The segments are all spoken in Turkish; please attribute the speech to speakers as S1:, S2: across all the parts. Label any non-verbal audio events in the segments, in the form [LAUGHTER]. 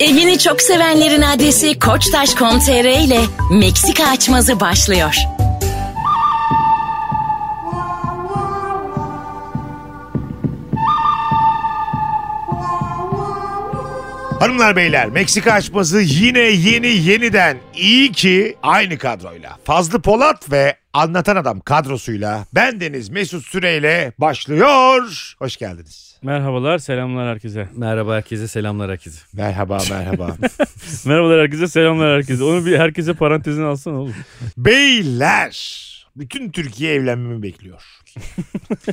S1: Evini çok sevenlerin adresi koçtaş.com.tr ile Meksika açmazı başlıyor.
S2: Hanımlar beyler Meksika açması yine yeni yeniden iyi ki aynı kadroyla. Fazlı Polat ve Anlatan Adam kadrosuyla ben Deniz Mesut Süreyle başlıyor. Hoş geldiniz.
S3: Merhabalar, selamlar herkese. [LAUGHS]
S4: Merhaba herkese, selamlar herkese.
S2: Merhaba merhaba.
S3: Merhabalar herkese, selamlar herkese. Onu bir herkese parantezine alsana
S2: [LAUGHS]
S3: oğlum.
S2: [LAUGHS] Beyler bütün Türkiye evlenmemi bekliyor.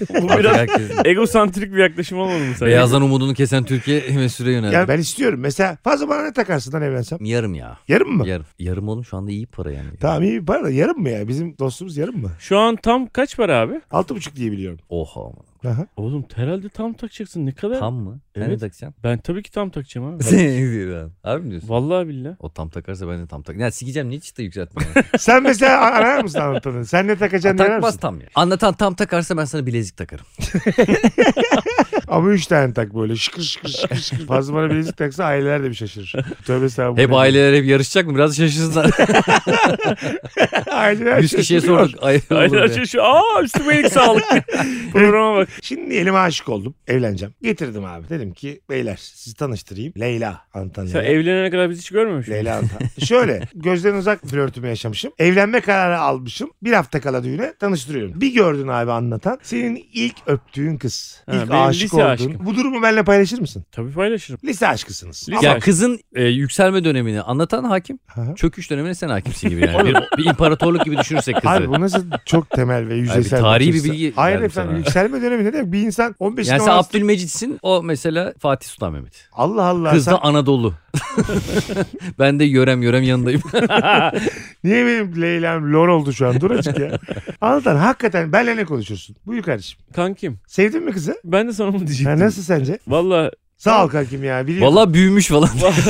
S3: Bu
S4: Artık
S3: biraz
S4: herkes-
S3: egosantrik bir yaklaşım olmadı mı sen?
S4: Beyazdan umudunu kesen Türkiye [LAUGHS] ve süre yöneldi.
S2: Yani ben istiyorum mesela fazla bana ne takarsın lan evlensem?
S4: Yarım ya.
S2: Yarım mı?
S4: Yarım. Yarım oğlum şu anda iyi para yani.
S2: Tamam iyi para da yarım mı ya? Bizim dostumuz yarım mı?
S3: Şu an tam kaç para abi?
S2: Altı buçuk diye biliyorum.
S4: Oha aman.
S2: Aha.
S3: Oğlum herhalde tam takacaksın. Ne kadar?
S4: Tam mı? Evet.
S3: Evet.
S4: Ne takacaksın?
S3: [LAUGHS] Ben tabii ki tam takacağım abi.
S4: Sen abi. Harbi mi diyorsun?
S2: [LAUGHS]
S3: Vallahi billahi.
S4: O tam takarsa ben de tam tak. Ya sikeceğim niye çıta yükseltme? ya?
S2: Sen mesela arar mısın anlatanı? Sen ne
S4: Ha,
S2: takacaksın ne arar
S4: Takmaz
S2: mısın?
S4: tam ya. Anlatan tam takarsa ben sana bilezik takarım.
S2: Ama üç tane tak böyle şıkır şıkır
S3: [LAUGHS]
S2: şıkır şıkır. Fazla bana bilezik taksa aileler de bir şaşırır. Tövbe estağfurullah.
S4: Hep aileler hep yarışacak mı? Biraz şaşırsınlar.
S2: [LAUGHS] aileler
S3: şey
S4: 100 kişiye
S2: şaşırıyor.
S4: şey sorduk. Ay, olur
S3: Aylar
S4: be.
S3: şu şu. Aa üstüme iyilik sağlık.
S2: [LAUGHS]
S3: Programa bak.
S2: Şimdi elime aşık oldum. Evleneceğim. Getirdim abi. Dedim ki beyler sizi tanıştırayım. Leyla Antalya'da.
S3: Sen evlenene kadar biz hiç görmemiş miydin?
S2: Leyla Antalya. Şöyle gözden uzak flörtümü yaşamışım. Evlenme kararı almışım. Bir hafta kala düğüne tanıştırıyorum. Bir gördün abi anlatan. Senin ilk öptüğün kız.
S3: Ha,
S2: ilk
S3: benim
S2: aşık
S3: lise
S2: olduğun.
S3: aşkım.
S2: Bu durumu benimle paylaşır mısın?
S3: Tabii paylaşırım.
S2: Lise aşkısınız.
S3: Lise-
S4: Ya kızın e, yükselme dönemini anlatan hakim,
S2: Aha.
S4: çöküş dönemini sen hakimsin gibi yani. bir, bir imparatorluk gibi düşünürsek kızı.
S2: Abi bu nasıl çok temel ve yüzeysel
S4: tarihi bir
S2: bakış açısı.
S4: bilgi
S2: Hayır
S4: verdim
S2: efendim
S4: sana.
S2: yükselme dönemi ne demek? Bir insan 15
S4: yani sen
S2: 16
S4: Abdülmecit'sin, o mesela Fatih Sultan Mehmet.
S2: Allah Allah.
S4: Kız
S2: sen-
S4: da [LAUGHS] Anadolu. ben de yörem yörem yanındayım.
S2: Niye benim Leyla'm lor oldu şu an? Dur açık
S4: [LAUGHS]
S2: ya. Anlatan hakikaten benle ne konuşursun? Buyur kardeşim.
S3: Kankim.
S2: Sevdin mi kızı?
S3: Ben de sana onu diyecektim.
S2: Ya nasıl sence? [LAUGHS]
S3: Valla
S2: Sağ ol kankim ya. Biliyorum.
S4: Valla büyümüş falan.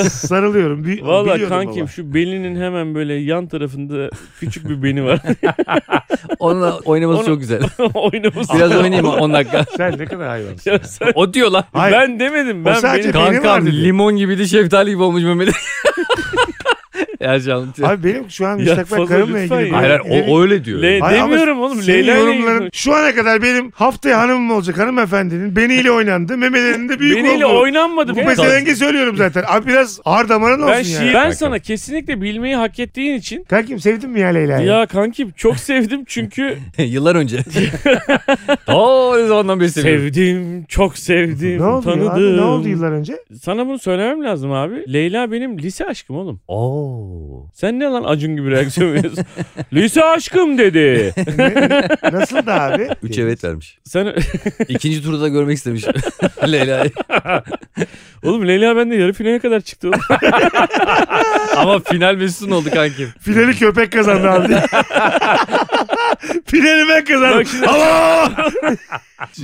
S2: Sarılıyorum. Bi-
S3: valla
S2: biliyordum
S3: kankim
S2: baba.
S3: şu belinin hemen böyle yan tarafında küçük bir beni var. [LAUGHS]
S4: Onunla [LAUGHS] oynaması
S3: Onu-
S4: çok güzel.
S3: Oynaması.
S4: Biraz oynayayım mı? 10 [LAUGHS] dakika.
S2: Sen ne kadar hayvansın.
S3: Ya sen-
S4: O diyor lan.
S2: Hayır.
S3: Ben demedim. Ben
S2: sadece
S3: benim-
S2: Beni var
S4: Kankam
S2: dedi.
S4: limon gibiydi şeftali gibi olmuş Mehmet. [LAUGHS] Her şey anlatıyor.
S2: Abi benim şu an
S3: Ya
S2: müstakbel
S3: fazla
S2: karımla
S3: lütfen
S2: ilgili.
S3: ya.
S2: bir-
S4: hayır hayır o, o öyle diyor.
S3: Le-
S2: Hayır ama
S3: demiyorum oğlum.
S2: Senin
S3: Leyla ile
S2: yorumların
S3: ilgili.
S2: şu ana kadar benim haftaya hanımım olacak hanımefendinin beniyle oynandı. Memelerinin de büyük
S3: Beniyle
S2: oldu.
S3: oynanmadı.
S2: Bu
S3: be.
S2: pezevenge söylüyorum zaten. Abi biraz ağır damarın olsun
S3: ben,
S2: ya.
S3: şi- ben sana kesinlikle bilmeyi hak ettiğin için
S2: Kankim sevdin mi ya Leyla'yı?
S3: ya kankim çok sevdim
S2: [LAUGHS]
S3: çünkü
S4: [LAUGHS] Yıllar [LAUGHS] önce. Oo ne zamandan beri seviyorum.
S3: sevdim çok sevdim
S2: Ne oldu ya
S3: tanıdım.
S2: abi? Ne oldu yıllar önce?
S3: Sana bunu söylemem lazım abi. Leyla benim lise aşkım oğlum.
S4: Oo.
S3: Sen ne lan Acun gibi
S2: [LAUGHS]
S3: reaksiyon veriyorsun. lise aşkım dedi.
S2: Nasıl da abi?
S4: 3 evet vermiş.
S2: [LAUGHS]
S3: Sen
S4: İkinci turda da görmek istemiş. [LAUGHS] Leyla'yı.
S3: oğlum Leyla bende yarı finale kadar
S2: [LAUGHS]
S3: çıktı oğlum.
S4: Ama final Mesut'un oldu kankim.
S2: Finali köpek kazandı abi.
S3: [LAUGHS]
S2: Finali ben kazandım.
S3: Bak şimdi- [LAUGHS]
S2: Ama!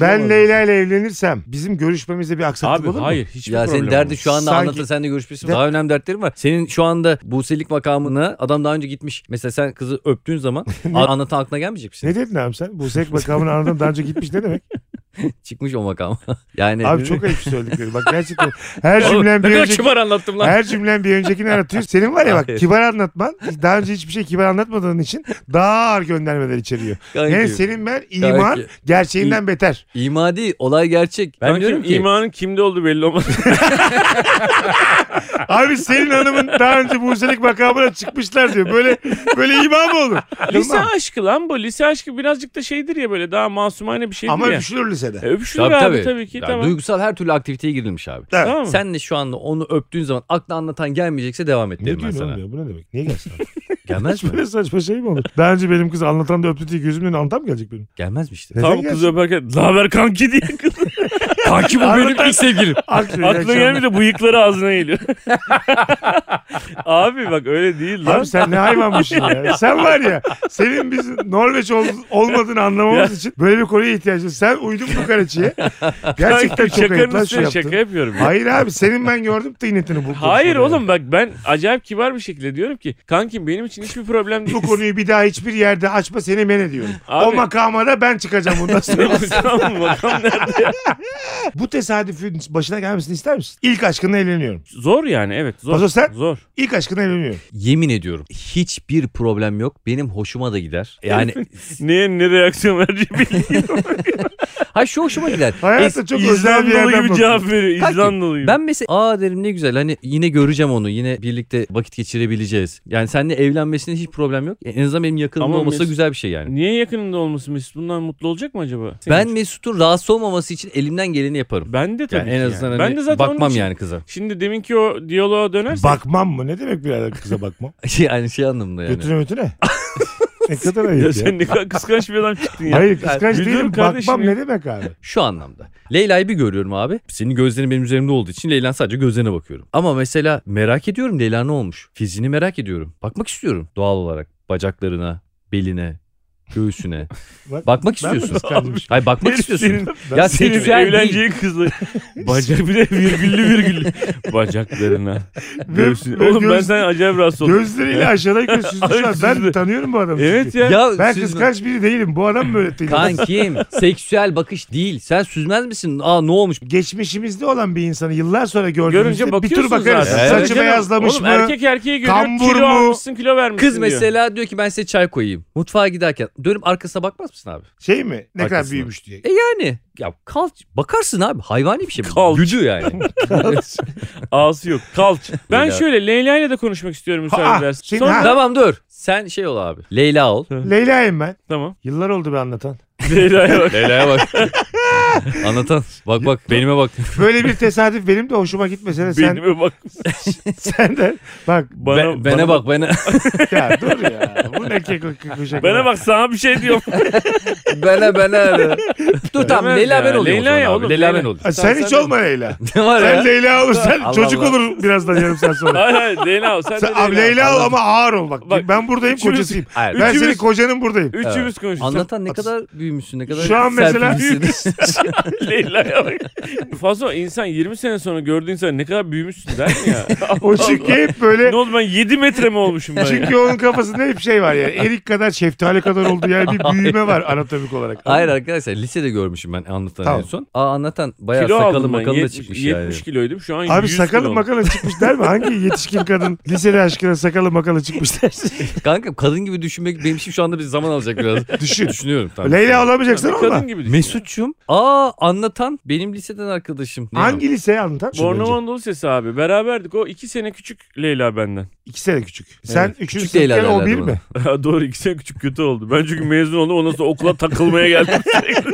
S2: ben Leyla ile evlenirsem bizim görüşmemizde bir aksaklık
S3: abi
S2: olur mu?
S3: hayır hiçbir
S4: Ya
S3: problem
S4: senin derdin
S3: olmaz.
S4: şu anda
S2: Sanki-
S4: anlatır sen de görüşmüşsün.
S2: De-
S4: Daha önemli dertlerin var. Senin şu anda Buse'lik makamına adam daha önce gitmiş. Mesela sen kızı
S2: [LAUGHS]
S4: öptüğün zaman a- anlatan aklına gelmeyecek misin?
S2: Ne dedin abi sen? Bu sek makamını anladın daha önce gitmiş ne
S3: [LAUGHS]
S2: demek?
S4: Çıkmış o makama. [LAUGHS] yani
S2: Abi çok ayıp söyledikleri. Bak gerçekten her
S4: Oğlum,
S2: cümlen bir
S4: ne kadar
S2: önceki...
S4: kibar anlattım lan.
S2: Her cümlen bir öncekini aratıyor. Senin var ya bak
S4: Hayır.
S2: kibar anlatman daha önce hiçbir şey kibar anlatmadığın için daha ağır göndermeler içeriyor.
S4: [LAUGHS] Kanki,
S2: Yani senin ben iman
S4: Kanki.
S2: gerçeğinden beter.
S4: İma değil olay gerçek. Ben
S3: Kankim,
S4: diyorum ki
S3: imanın kimde olduğu belli olmaz.
S2: Abi senin hanımın daha önce Buse'lik makamına çıkmışlar diyor. Böyle böyle imam mı olur?
S3: lise
S2: Tamam.
S3: aşkı lan bu. Lise aşkı birazcık da şeydir ya böyle daha masumane bir şeydir
S2: Ama
S3: ya.
S2: düşünür lisede.
S3: E, Öpüşülür
S4: Tabii
S3: abi
S4: tabii.
S3: tabii, ki.
S4: Ya
S3: tamam.
S4: Duygusal her türlü aktiviteye girilmiş abi.
S2: Evet.
S3: Tamam mı?
S4: Sen de şu anda onu öptüğün zaman akla anlatan gelmeyecekse devam et
S2: Ne
S4: derim ben
S2: diyorsun
S4: sana.
S2: oğlum ya? Bu ne demek? Niye gelsin? abi?
S4: Gelmez mi?
S2: [LAUGHS] Böyle saçma şey mi olur? Daha önce benim kız anlatan da öptü diye gözümden antam gelecek benim.
S4: Gelmez mi işte? [LAUGHS]
S2: Neden
S3: Tam
S2: gelsin?
S3: kızı öperken ne haber kanki diye kız.
S4: Kanki bu benim ilk sevgilim.
S2: Aklı,
S3: Aklına gelmiyor da bıyıkları ağzına geliyor. Abi bak öyle değil lan.
S2: Abi sen ne hayvanmışsın
S3: [LAUGHS]
S2: ya. Sen var ya senin biz Norveç ol- olmadığını anlamamız için böyle bir konuya ihtiyacın. Sen uydun bu
S3: [LAUGHS]
S2: karaciye. Gerçekten çok ayıp
S3: Şakanın
S2: lan şu
S3: üstüne şaka
S2: yaptın.
S3: yapıyorum. ya.
S2: Hayır abi senin ben gördüm tıynetini bu konuşmada.
S3: Hayır oğlum bak ben acayip kibar bir şekilde diyorum ki kankim benim için hiçbir problem değil.
S2: Bu konuyu bir daha hiçbir yerde açma seni men ediyorum.
S3: Abi- [LAUGHS]
S2: O makama da ben çıkacağım bundan sonra.
S3: Tamam mı? Bakalım nerede ya?
S2: Bu tesadüfün başına gelmesini ister misin? İlk aşkına evleniyorum.
S3: Zor yani evet zor.
S2: Paso sen?
S3: Zor.
S2: İlk aşkına evleniyorum.
S4: Yemin ediyorum hiçbir problem yok. Benim hoşuma da gider. Yani
S3: Niye ne reaksiyon vereceği bilmiyorum.
S4: ha şu hoşuma gider.
S2: Hayatım çok özel bir
S3: İzlandalı
S2: yerden
S3: gibi
S2: bakıyorsun.
S3: cevap veriyor.
S4: Kanki,
S3: İzlandalı gibi.
S4: Ben mesela aa derim ne güzel hani yine göreceğim onu yine birlikte vakit geçirebileceğiz. Yani seninle evlenmesine hiç problem yok. En azından benim yakınımda
S3: Ama
S4: olması da
S3: Mesut-
S4: güzel bir şey yani.
S3: Niye yakınında olması Mesut? Bundan mutlu olacak mı acaba?
S4: Ben Mesut'un rahatsız olmaması için elimden geleni yaparım.
S3: ben de tabii
S4: Yani en
S3: ki
S4: azından
S3: yani.
S4: hani
S3: ben de zaten onun
S4: bakmam
S3: için-
S4: yani kıza. [LAUGHS]
S3: Şimdi deminki o diyaloğa
S2: [LAUGHS]
S3: dönersek
S2: Bakmam mı? Ne demek birader kıza
S3: [LAUGHS]
S2: bakmam?
S4: yani şey anlamında yani.
S2: Götüne götüne. ne kadar ayıp ya.
S3: ya [LAUGHS] sen ne kadar kıskanç bir adam çıktın ya.
S2: Hayır kıskanç
S3: Güldür
S2: değilim.
S3: kardeşim
S2: Bakmam
S3: ya.
S2: ne demek abi?
S4: Şu anlamda. Leyla'yı bir görüyorum abi. Senin gözlerin benim üzerimde olduğu için Leyla'nın sadece gözlerine bakıyorum. Ama mesela merak ediyorum Leyla ne olmuş? Fiziğini merak ediyorum. Bakmak istiyorum doğal olarak. Bacaklarına, beline,
S3: [LAUGHS]
S4: göğsüne.
S2: Bak-
S4: Bakmak
S2: Ben mi
S4: istiyorsun.
S2: kıskandım?
S4: Hayır bakmak
S3: Herif
S4: istiyorsun.
S3: senin-
S2: Ben-
S4: ya
S3: Senin
S4: seksüel değil.
S3: evleneceğin
S2: [LAUGHS]
S3: kızla bacak bir de virgüllü virgüllü bacaklarına göğsüne.
S2: Ve- ve
S3: Oğlum ben
S2: göz-
S3: sen acayip rahatsız oldum.
S2: Gözleriyle aşağıdan gösüzdü şu an. Ben
S3: Süzdü.
S2: tanıyorum bu adamı.
S3: Evet
S2: çünkü.
S3: ya.
S2: Ben
S4: siz-
S2: kıskanç biri değilim. Bu adam mı
S3: [LAUGHS]
S2: öğretti?
S4: Kankim seksüel bakış değil. Sen süzmez misin? Aa ne olmuş?
S2: Geçmişimizde olan bir insanı yıllar sonra
S3: Görünce
S2: gördüğümüzde bir
S3: bakıyorsun
S2: tur bakarız.
S3: zaten.
S2: Saçı
S3: Tabii canım.
S2: beyazlamış
S3: Oğlum,
S2: mı?
S3: Erkek erkeği görüyor.
S2: Kambur
S3: Kilo
S2: mu?
S3: almışsın kilo vermişsin
S4: Kız
S3: diyor.
S4: mesela diyor ki ben size çay koyayım. Mutfağa giderken dönüp arkasına bakmaz mısın abi?
S2: Şey mi? Ne kadar
S4: Arkasına.
S2: büyümüş diye.
S4: E yani ya kal bakarsın abi hayvani bir şey. bu.
S3: Kalç.
S4: Gücü yani.
S3: Ağzı yok.
S2: [LAUGHS]
S3: Kalç. Ben
S4: Leyla.
S3: şöyle Leyla ile de konuşmak istiyorum
S2: Ha,
S3: müsaade edersen.
S2: şimdi-
S3: Sonra
S2: ha.
S4: tamam dur. Sen şey ol abi. Leyla ol.
S2: Leyla'yım ben.
S3: tamam.
S2: Yıllar oldu be anlatan.
S3: Leyla'ya bak.
S4: Leyla'ya bak. [LAUGHS] Anlatan. Bak bak benime bak.
S2: Böyle bir tesadüf benim de hoşuma gitmesene sen.
S3: Beynime bak.
S2: Sen de
S3: [LAUGHS]
S2: bak
S3: Bana,
S4: Be- bene bak bene.
S2: ya dur ya. Bu ne kek kuşak.
S3: Bana bak sana bir şey diyorum.
S4: bene bene. dur tamam
S3: Demez
S4: Leyla
S3: ya.
S4: ben olayım.
S3: Leyla
S4: Leyla
S3: ya
S4: ya
S3: oğlum,
S4: Leyla ben
S3: Leyla.
S4: olayım.
S2: Sen,
S3: Sen-
S2: hiç
S3: sen-
S2: olma
S3: [LAUGHS]
S2: Leyla.
S4: [LAUGHS] Ne var
S2: Sen
S4: ya?
S2: Leyla olursan
S4: Allah
S2: çocuk
S4: Allah.
S2: olur birazdan yarım saat
S3: [LAUGHS]
S2: sonra.
S3: Hayır hayır Leyla ol. Sen,
S2: Sen,
S3: de
S2: abi Leyla ol ama ağır ol bak.
S3: Bak,
S2: ben buradayım
S3: üçümüz-
S2: kocasıyım.
S4: Hayır.
S2: Ben senin
S3: Üçümüz-
S2: kocanın
S3: [LAUGHS]
S2: buradayım.
S3: Üçümüz konuşuyoruz.
S4: Anlatan ne kadar büyümüşsün ne kadar
S2: Şu an mesela-
S4: [LAUGHS] serpilmişsin.
S3: Leyla'ya bak. Fazla insan 20 sene sonra gördüğün insan ne kadar büyümüşsün der mi
S2: [LAUGHS]
S3: ya?
S2: O çünkü hep
S3: ne
S2: böyle
S3: oldu ben 7 metre mi olmuşum ben? ya?
S2: çünkü onun kafasında hep şey var yani. Erik kadar şeftali kadar oldu yani bir büyüme var anatomik
S3: [LAUGHS]
S2: olarak.
S4: Hayır arkadaşlar lisede görmüşüm ben anlatanı
S2: Tamam.
S4: en son. Aa anlatan bayağı
S3: Kilo
S4: sakalı
S3: aldım ben.
S4: makalı da
S3: 70,
S4: çıkmış
S3: 70
S4: yani.
S3: kiloydum şu an
S2: Abi
S3: 100
S2: sakalı
S3: kilo.
S2: makalı çıkmış der mi? Hangi yetişkin kadın lisede aşkına sakalı makalı çıkmış
S3: [LAUGHS]
S2: dersin?
S4: [LAUGHS] Kanka kadın gibi düşünmek benim için şu anda bir zaman alacak biraz.
S2: [LAUGHS] Düşün.
S4: Düşünüyorum tamam.
S2: Leyla olamayacaksın
S3: Bir
S2: ama.
S3: kadın gibi düşün.
S4: Mesut'cum. Aa anlatan benim liseden arkadaşım. Ne
S2: Hangi liseye anlatan?
S3: Bornova Anadolu Sesi abi. Beraberdik. O 2 sene küçük Leyla benden. [LAUGHS]
S2: İki sene küçük. Sen üçüncü
S4: Küçük Leyla
S2: sınıfken o bir
S4: derlerdi bana.
S2: mi?
S3: Doğru 2 sene küçük kötü oldu. Ben çünkü mezun oldum. Ondan sonra okula
S2: [LAUGHS]
S3: takılmaya geldim.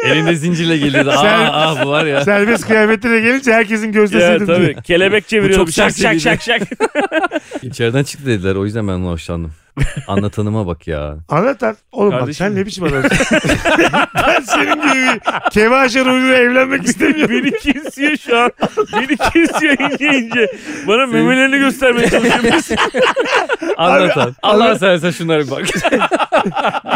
S4: o? Elinde zincirle geliyordu. Aa,
S2: Sen-
S4: aa bu var ya.
S2: Serbest kıyafetlere gelince herkesin gözde
S3: ya
S2: sildim diyor.
S3: tabii. Kelebek
S4: Bu
S3: çeviriyorum.
S4: çok
S3: Şak şak
S4: serseriydi.
S3: şak şak. [LAUGHS]
S4: İçeriden çıktı dediler o yüzden ben ondan hoşlandım. Anlatanıma bak ya.
S2: Anlatan. Oğlum bak
S3: Kardeşim.
S2: sen ne biçim adamsın? [LAUGHS] ben senin gibi bir kevaşer rolüyle evlenmek istemiyorum.
S3: Beni kesiyor şu an. Beni kesiyor ince ince. Bana memelerini
S4: [LAUGHS]
S3: göstermeye çalışıyor.
S4: Anlatan. Allah seversen şunlara
S2: [LAUGHS]
S4: bir bak.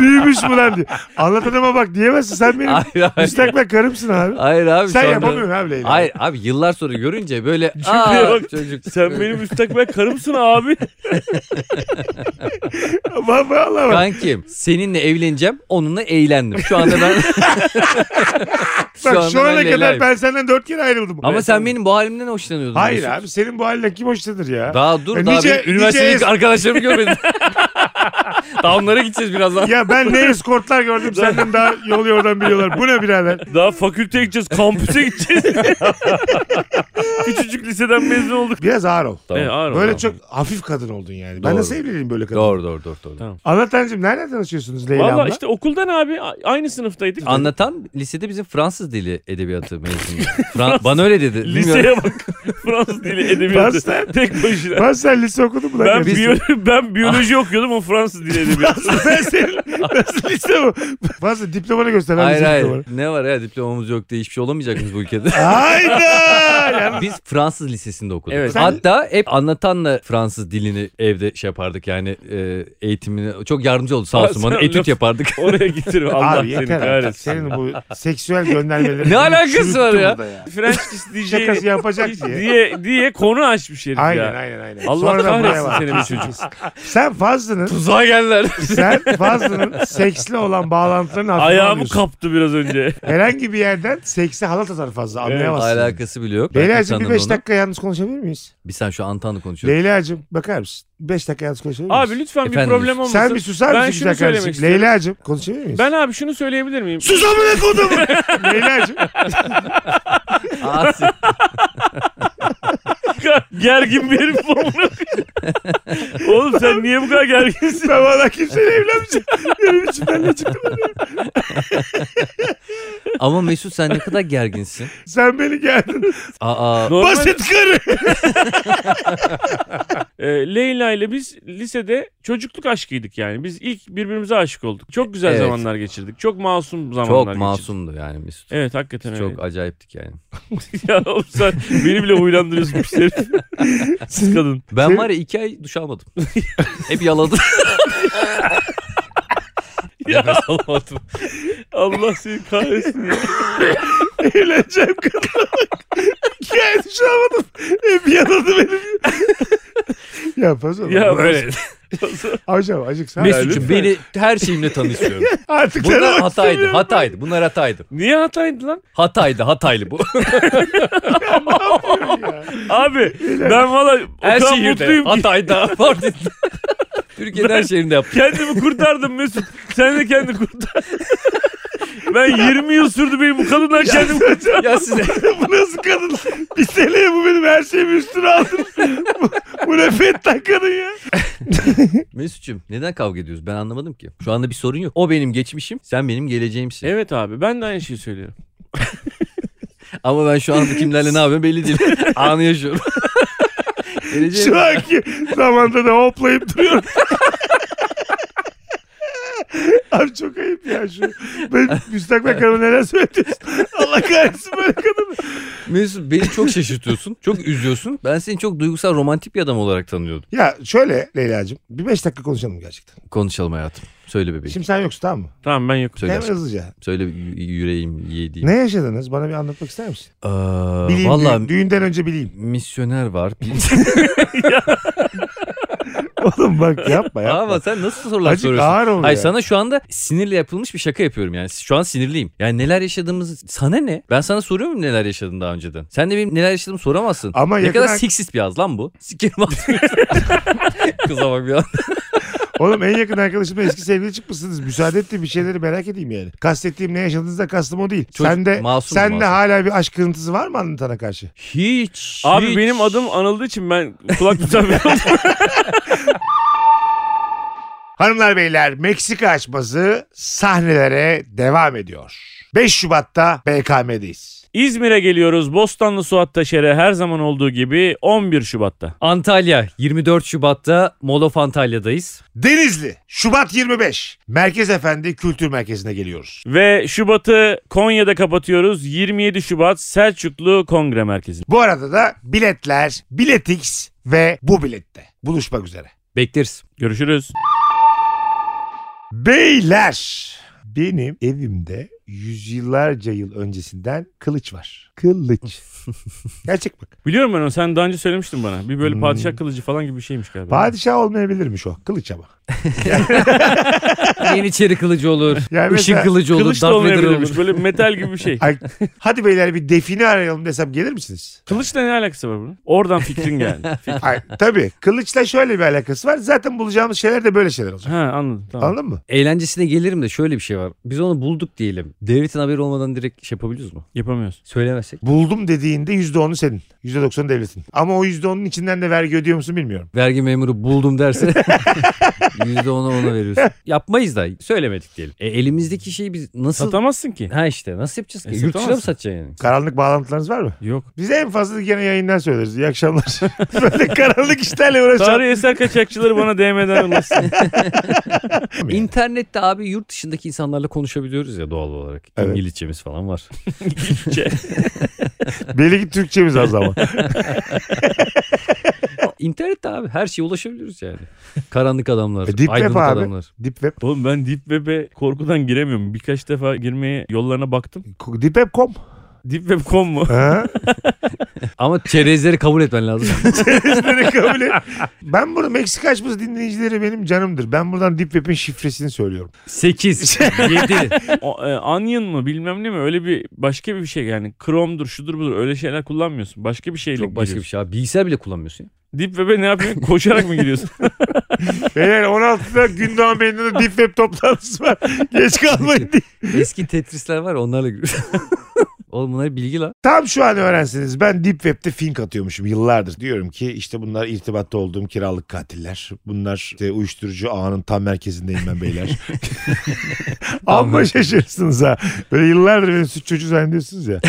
S2: Büyümüş mü lan diyor. Anlatanıma bak diyemezsin. Sen benim
S4: hayır hayır.
S2: müstakbel karımsın abi.
S4: Hayır abi.
S2: sen
S4: şu anda-
S2: yapamıyorsun abi Leyla.
S4: Hayır abi yıllar sonra görünce böyle
S3: Cümleye
S4: aa
S3: bak.
S4: çocuk.
S3: Sen benim müstakbel karımsın abi.
S2: Vallahi vallahi bak.
S4: Kankim seninle evleneceğim onunla eğlendim. Şu anda
S2: [LAUGHS]
S4: ben...
S2: Bak şu,
S4: ben
S2: ana kadar
S4: Leyla'yım.
S2: ben senden dört kere ayrıldım.
S4: Ama sen benim bu halimden hoşlanıyordun.
S2: Hayır
S4: Mesut.
S2: abi senin bu haline kim hoşlanır ya?
S4: Daha dur
S2: E,
S4: daha
S2: nice-
S4: benim üniversitedeki
S2: nice-
S4: arkadaşlarımı görmedim.
S2: [LAUGHS]
S4: daha onlara gideceğiz birazdan.
S2: Ya ben ne eskortlar gördüm senden daha yol yordan biliyorlar. Bu ne birader?
S3: Daha fakülteye gideceğiz. Kampüse
S4: [LAUGHS]
S3: gideceğiz. Küçücük liseden mezun olduk.
S2: Biraz ağır ol.
S4: Tamam.
S3: E, ağır ol,
S2: Böyle
S3: tamam.
S2: çok hafif kadın oldun yani. Ben
S4: Doğru.
S2: nasıl evleneyim böyle kadın?
S4: Doğru doğru doğru. doğru.
S3: Tamam.
S2: Anlatancım nereden tanışıyorsunuz Leyla'mla?
S3: Valla işte okuldan abi a- aynı sınıftaydık.
S4: Anlatan lisede bizim Fransız dili edebiyatı mezunu. Fra- bana öyle dedi. Bilmiyorum.
S3: Liseye bak. [LAUGHS] Fransız dili edebiyatı.
S2: Bastard.
S3: Tek başına.
S2: Ben sen lise okudun mu lan?
S3: Ben,
S2: Biz- Ah.
S3: biyo- [LAUGHS] ben biyoloji okuyordum o Fransız dili
S2: [LAUGHS]
S3: edebiyatı.
S2: Ben senin nasıl lise
S4: [LAUGHS]
S2: bu? Fazla diplomanı göster. ben
S4: Hayır
S2: lise
S4: hayır.
S2: diplomanı. [LAUGHS]
S4: Ne var ya diplomamız yok diye hiçbir şey olamayacak biz bu ülkede.
S2: Hayda! Hala
S4: Biz Fransız lisesinde okuduk.
S3: Evet.
S2: Sen-
S4: Hatta hep anlatanla Fransız dilini evde şey yapardık yani e, eğitimini çok yardımcı oldu sağ olsun bana
S3: Sen
S4: etüt
S3: laf-
S4: yapardık.
S3: [LAUGHS] Oraya getirir [LAUGHS]
S2: Abi
S3: Allah seni
S2: yeter artık.
S3: kahretsin.
S2: Senin bu seksüel
S3: [LAUGHS]
S2: göndermeleri.
S4: Ne alakası var
S2: çürüttü
S4: ya?
S2: burada ya?
S3: French kiss diyeceği-
S2: Şakası yapacak diye.
S3: diye diye konu açmış herif
S2: Aynen
S3: ya.
S2: aynen aynen.
S3: Allah
S2: Sonradan buraya
S3: kahretsin
S2: bak.
S3: seni bu çocuk.
S2: [LAUGHS] Sen Fazlı'nın
S4: Tuzağa geldiler.
S2: sen Fazlı'nın seksli olan bağlantılarını hafife
S3: Ayağımı
S2: alıyorsun.
S3: kaptı biraz önce.
S2: Herhangi bir yerden seksi halat atar fazla anlayamazsın.
S4: Alakası bile yok.
S2: Leyla'cığım bir
S4: Anlatan'dan
S2: 5
S4: onu-
S2: dakika yalnız konuşabilir miyiz?
S4: Biz sen şu Antan'la konuşuyoruz.
S2: Leyla'cığım bakar mısın? 5 dakika yalnız konuşabilir miyiz?
S3: Abi lütfen bir
S4: Efendim?
S3: problem olmasın.
S2: Sen bir susar
S3: Ben
S2: mısın
S3: şunu
S2: güzel
S3: söylemek
S2: kardeşim?
S3: istiyorum.
S2: Leyla'cığım konuşabilir miyiz?
S3: Ben abi şunu söyleyebilir [LAUGHS] miyim?
S2: Sus amına kodum. Leyla'cığım.
S4: Asi.
S3: gergin bir herif olmuş. Oğlum sen niye bu kadar [LAUGHS] gerginsin?
S2: Ben valla kimseyle evlenmeyeceğim. Benim içimden ne çıktı?
S4: Ama Mesut sen ne kadar gerginsin.
S2: Sen beni geldin.
S4: Aa,
S3: Normal,
S2: Basit karı.
S3: e, Leyla ile biz lisede çocukluk aşkıydık yani. Biz ilk birbirimize aşık olduk. Çok güzel
S4: Evet.
S3: zamanlar geçirdik. Çok masum zamanlar
S4: çok
S3: geçirdik.
S4: masumdu yani Mesut.
S3: Evet hakikaten öyle.
S4: Çok acayiptik yani.
S3: [LAUGHS] ya oğlum sen beni bile şey. huylandırıyorsun pis herif. [LAUGHS] Siz kadın.
S4: Ben var ya iki ay duş almadım. Hep yaladım.
S3: [LAUGHS] Ya [LAUGHS] Allah'ım. Allah seni kahretsin [LAUGHS] ya.
S2: Evleneceğim kadın. Geldi şu E, anladım. Hep yanıldı benim. ya fazla.
S3: Ya
S2: Ya,
S3: böyle.
S2: Hocam acık sen.
S4: Mesut'cum
S3: lütfen.
S4: beni her
S3: [LAUGHS]
S4: şeyimle tanışıyorum.
S2: Artık
S4: Bunlar
S2: sana
S4: hataydı, hataydı. Bunlar hataydı.
S3: Niye hataydı lan?
S4: Hataydı,
S2: [LAUGHS]
S4: hataylı bu.
S2: bakıyorum ya.
S3: Abi ben valla o
S4: Her
S3: kadar
S4: şehirde.
S3: mutluyum ki. [LAUGHS]
S4: Hatay'da, Mardin'de. Türkiye'nin her şehrinde yaptım.
S3: Kendimi kurtardım Mesut. Sen de kendini kurtar. Ben 20 yıl sürdü benim bu kadından kendim kurtardım.
S4: Ya size
S2: bu nasıl kadın? Bir seneye bu benim her şeyimi üstüne aldım. bu, bu ne fettan kadın ya.
S4: Mesut'cum neden kavga ediyoruz ben anlamadım ki. Şu anda bir sorun yok. O benim geçmişim sen benim geleceğimsin.
S3: Evet abi ben de aynı şeyi söylüyorum.
S4: Ama ben şu anda kimlerle ne yapıyorum
S2: [LAUGHS]
S4: belli değil. Anı yaşıyorum. Geleceğim.
S2: Şu anki zamanda da hoplayıp duruyorum. Abi çok ayıp ya şu. Ben müstakbel karıma neler söylüyorsun? Allah kahretsin böyle kadını.
S4: Mesut beni çok şaşırtıyorsun. Çok üzüyorsun. Ben seni çok duygusal romantik bir adam olarak tanıyordum.
S2: Ya şöyle Leyla'cığım bir beş dakika konuşalım gerçekten.
S4: Konuşalım hayatım. Söyle bebeğim.
S2: Şimdi sen yoksun tamam mı?
S3: Tamam ben yokum.
S4: Söyle
S2: Hemen
S4: aşkım.
S2: hızlıca.
S4: Söyle yü- yüreğim yediğim.
S2: Ne yaşadınız? Bana bir anlatmak ister misin?
S4: Ee,
S2: Bileyim,
S4: Valla
S2: düğün- düğünden önce bileyim.
S4: misyoner [LAUGHS] var.
S2: Oğlum bak yapma yapma.
S4: Ama sen nasıl sorular
S2: Acık
S4: soruyorsun?
S2: ağır oluyor.
S4: Ay sana şu anda sinirle yapılmış bir şaka yapıyorum yani. Şu an sinirliyim. Yani neler yaşadığımızı sana ne? Ben sana soruyor muyum neler yaşadın daha önceden? Sen de benim neler yaşadığımı soramazsın.
S2: Ama
S4: ne
S2: yakın
S4: kadar
S2: ar-
S4: seksist bir az lan bu. Sikerim ağzını. Kıza bak bir an.
S2: Oğlum en yakın arkadaşımla eski sevgili çıkmışsınız. Müsaade ettiğim bir şeyleri merak edeyim yani. Kastettiğim ne yaşadığınızda kastım o değil.
S4: Çocuk-
S2: sen de
S4: masum,
S2: sen de
S4: masum.
S2: hala bir aşk kırıntısı var mı anlatana karşı?
S4: Hiç.
S3: Abi
S4: hiç.
S3: benim adım anıldığı için ben kulak misafiri [LAUGHS] oldum.
S2: Hanımlar beyler Meksika açması sahnelere devam ediyor. 5 Şubat'ta BKM'deyiz.
S3: İzmir'e geliyoruz. Bostanlı Suat Taşer'e her zaman olduğu gibi 11 Şubat'ta.
S4: Antalya 24 Şubat'ta Molof Antalya'dayız.
S2: Denizli Şubat 25 Merkez Efendi Kültür Merkezi'ne geliyoruz.
S3: Ve Şubat'ı Konya'da kapatıyoruz. 27 Şubat Selçuklu Kongre Merkezi.
S2: Bu arada da biletler Biletix ve bu bilette buluşmak üzere.
S4: Bekleriz.
S3: Görüşürüz.
S2: Beyler benim evimde yüzyıllarca yıl öncesinden kılıç var. Kılıç. [LAUGHS] Gerçek bak.
S3: Biliyorum ben onu. Sen daha önce söylemiştin bana. Bir böyle
S2: Hmm.
S3: padişah kılıcı falan gibi bir şeymiş galiba.
S2: Padişah olmayabilirmiş o. Kılıç ama.
S4: Yeniçeri kılıcı olur.
S2: Yani mesela
S4: Işık kılıcı olur.
S3: Kılıç da
S4: Darth Vader olur.
S3: olmayabilirmiş. Böyle metal gibi
S2: [LAUGHS]
S3: bir şey.
S2: Ay, hadi beyler bir define arayalım desem gelir misiniz?
S3: Kılıçla ne alakası var bunun? Oradan fikrin geldi. Fik-
S2: Ay, tabii. Kılıçla şöyle bir alakası var. Zaten bulacağımız şeyler de böyle şeyler olacak.
S3: ha anladım. Tamam.
S2: Anladın mı?
S4: Eğlencesine gelirim de şöyle bir şey var. Biz onu bulduk diyelim. Devletin haberi olmadan direkt şey yapabiliyoruz mu?
S3: Yapamıyoruz.
S4: Söylemezsek.
S2: Buldum dediğinde %10'u senin. %90'ı devletin. Ama o %10'un içinden de vergi ödüyor musun bilmiyorum.
S4: vergi memuru buldum [LAUGHS] derse %10'u ona veriyorsun. Yapmayız da söylemedik diyelim. E, elimizdeki şeyi biz nasıl...
S3: Satamazsın ki.
S4: ha işte nasıl yapacağız ki?
S3: E,
S4: Yurt dışına mı
S3: satamazsın.
S4: satacaksın yani?
S2: Karanlık bağlantılarınız var mı?
S3: Yok.
S2: Biz en fazla gene yayından söyleriz. İyi [LAUGHS] akşamlar. Böyle karanlık işlerle uğraşalım.
S3: Tarih eser kaçakçıları bana DM'den
S4: [LAUGHS]
S3: ulaşsın.
S4: İnternette abi yurt dışındaki insanlarla konuşabiliyoruz ya doğal olarak.
S2: Evet.
S4: İngilizcemiz falan var.
S2: Belli ki Türkçemiz az ama.
S4: [LAUGHS] İnternette abi her şeye ulaşabiliyoruz yani. Karanlık adamlar,
S2: E, deep web
S4: aydınlık
S2: abi.
S4: adamlar.
S2: [LAUGHS] Deep Web.
S3: Oğlum ben Deep Web'e korkudan giremiyorum. Birkaç defa girmeye yollarına baktım.
S2: Deep Web.com.
S3: Deep Web.com
S4: [LAUGHS]
S3: mu?
S2: Ha?
S4: Ama çerezleri kabul
S2: [LAUGHS]
S4: etmen lazım.
S2: Bizleri kabul et. Ben bunu Meksika açması dinleyicileri benim canımdır. Ben buradan Deep Web'in şifresini söylüyorum.
S4: 8, 7.
S3: O, e, Onion mı bilmem ne mi öyle bir başka bir şey yani Chrome'dur şudur budur öyle şeyler kullanmıyorsun. Başka bir şeyle
S4: Çok başka şey. bir
S3: giriyorsun.
S4: şey abi. Bilgisayar bile kullanmıyorsun. ya.
S3: Deep Web'e ne
S4: [LAUGHS]
S3: yapıyorsun? Koşarak mı giriyorsun?
S2: Beyler 16'da Gündoğan Bey'in de Deep Web toplantısı var. Geç [LAUGHS] kalmayın diye.
S4: Eski Tetris'ler var ya, onlarla giriyorsun. [LAUGHS] Oğlum bunlar bilgi lan.
S2: Tam şu an öğrensiniz. Ben Deep Web'te fink atıyormuşum yıllardır. Diyorum ki işte bunlar irtibatta olduğum kiralık katiller. Bunlar işte uyuşturucu ağının tam merkezindeyim ben
S4: [LAUGHS]
S2: beyler. Amma şaşırırsınız ha. Böyle yıllardır beni suç çocuğu zannediyorsunuz
S4: [LAUGHS]
S2: ya.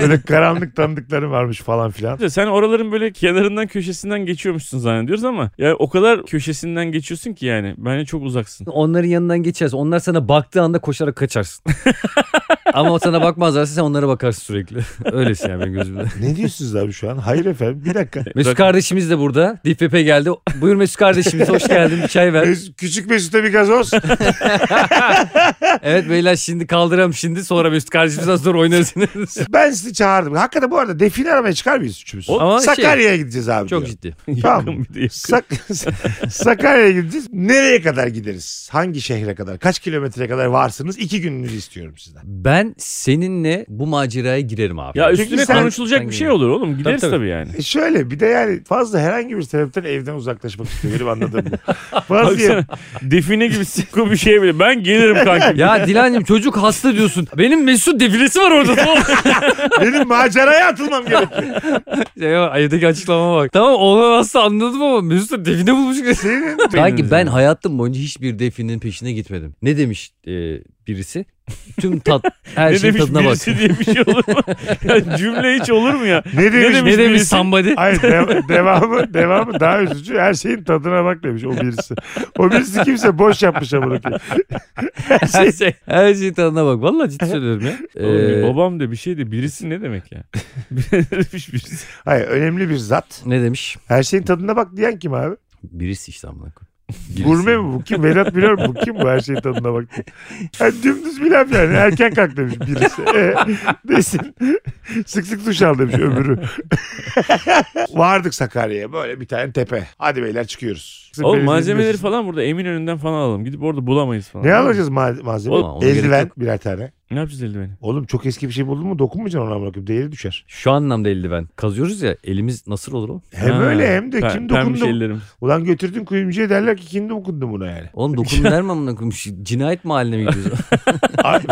S2: Böyle karanlık tanıdıklarım varmış falan filan.
S3: Sen oraların böyle kenarından köşesinden geçiyormuşsun zannediyoruz ama yani o kadar köşesinden geçiyorsun ki yani bence çok uzaksın.
S4: Onların yanından geçeriz. Onlar sana baktığı anda koşarak kaçarsın. Ama o sana bakmazlarsa sen onlara bakarsın sürekli. Öylesin yani benim gözümde.
S2: Ne diyorsunuz abi şu an? Hayır efendim bir
S4: [LAUGHS]
S2: dakika.
S4: Mesut kardeşimiz de burada. Deep Web'e geldi. Buyur Mesut kardeşimiz hoş geldin. Bir
S2: [LAUGHS]
S4: çay ver.
S2: Mes- Küçük Mesut'a bir
S4: [LAUGHS]
S2: gazoz.
S4: Evet beyler şimdi kaldıram şimdi sonra Mesut kardeşimizden sonra oynarız. [LAUGHS]
S2: Ben sizi çağırdım. Hakikaten bu arada define aramaya çıkar mıyız üçümüz?
S4: Ama şey-
S2: Sakarya'ya gideceğiz abi.
S4: Çok
S2: diyor.
S4: ciddi.
S2: Tamam.
S3: Yakın bir de yakın.
S2: Sak- [LAUGHS] Sakarya'ya gideceğiz. Nereye kadar gideriz? Hangi şehre kadar? Kaç kilometreye kadar varsınız? İki gününüzü istiyorum sizden.
S4: Ben seninle bu maceraya girerim abi.
S3: Ya
S2: Çünkü
S3: üstüne
S2: sen-
S3: konuşulacak bir şey olur oğlum. Gideriz
S4: tabii.
S3: tabii, [LAUGHS] yani.
S2: E şöyle bir de yani fazla herhangi bir sebepten evden uzaklaşmak istiyor. Benim anladığım
S3: [LAUGHS]
S2: bu. Fazla
S3: Baksana define gibi sikko bir şey bile. Ben gelirim [LAUGHS] kanka.
S4: Ya Dilancığım çocuk hasta diyorsun. Benim Mesut defilesi var orada. tamam mı?
S2: benim maceraya atılmam gerekiyor.
S4: Şey var, Evdeki açıklama bak. Tamam olamazsa anladım ama Mesut'un define
S2: [LAUGHS]
S4: bulmuş.
S2: Senin
S4: Kanki ben hayatım boyunca hiçbir definin peşine gitmedim. Ne demiş e, birisi? Tüm tat her
S3: ne
S4: şeyin
S3: demiş
S4: tadına bak.
S3: birisi diye bir şey olur [LAUGHS] mu? ya cümle hiç olur mu ya?
S2: ne
S3: Ne
S2: demiş?
S3: demiş?
S4: Ne demiş
S3: birisi?
S4: somebody?
S2: Hayır dev- devamı, devamı daha üzücü. Her şeyin tadına bak demiş o birisi. O birisi kimse boş yapmış amına koyayım. [LAUGHS]
S4: Her şey her şeyin tadına bak. Vallahi ciddi söylüyorum ya.
S3: Oğlum bir
S4: Ee,
S3: babam da bir şey de birisi ne demek [LAUGHS] ya? Demiş birisi.
S2: Hayır önemli bir zat.
S4: ne demiş?
S2: Her şeyin tadına bak diyen kim abi?
S4: Birisi işte amına koyayım.
S2: Gurme mi bu kim? Vedat Bilal mi bu kim bu her şeyin tadına bak diye. Yani dümdüz bir laf yani. Erken kalk demiş birisi. E, desin. Sık sık duş al demiş öbürü. Vardık Sakarya'ya böyle bir tane tepe. Hadi beyler çıkıyoruz. Bizim
S3: Oğlum
S2: belediye
S3: malzemeleri
S2: biliyorsunuz.
S3: falan burada emin önünden falan alalım. Gidip orada bulamayız falan.
S2: Ne alacağız ma- malzeme?
S4: Oğlum, ona gerek
S2: Eldiven
S4: yok.
S2: birer tane.
S3: Ne yapacağız eldiveni?
S2: Oğlum çok eski bir şey buldun mu dokunmayacaksın ona amına koyayım. Değeri düşer.
S4: Şu anlamda eldiven. Kazıyoruz ya elimiz nasıl olur oğlum?
S2: Hem
S3: Ha,
S2: öyle hem de
S3: pe-
S2: kim
S3: pembiş
S2: dokundu?
S3: ellerim.
S2: Ulan götürdün kuyumcuya derler ki kim dokundu buna yani.
S4: Oğlum dokun der mi amına koyayım? Şu Cinayet mahalline mi gidiyoruz?
S2: Abi-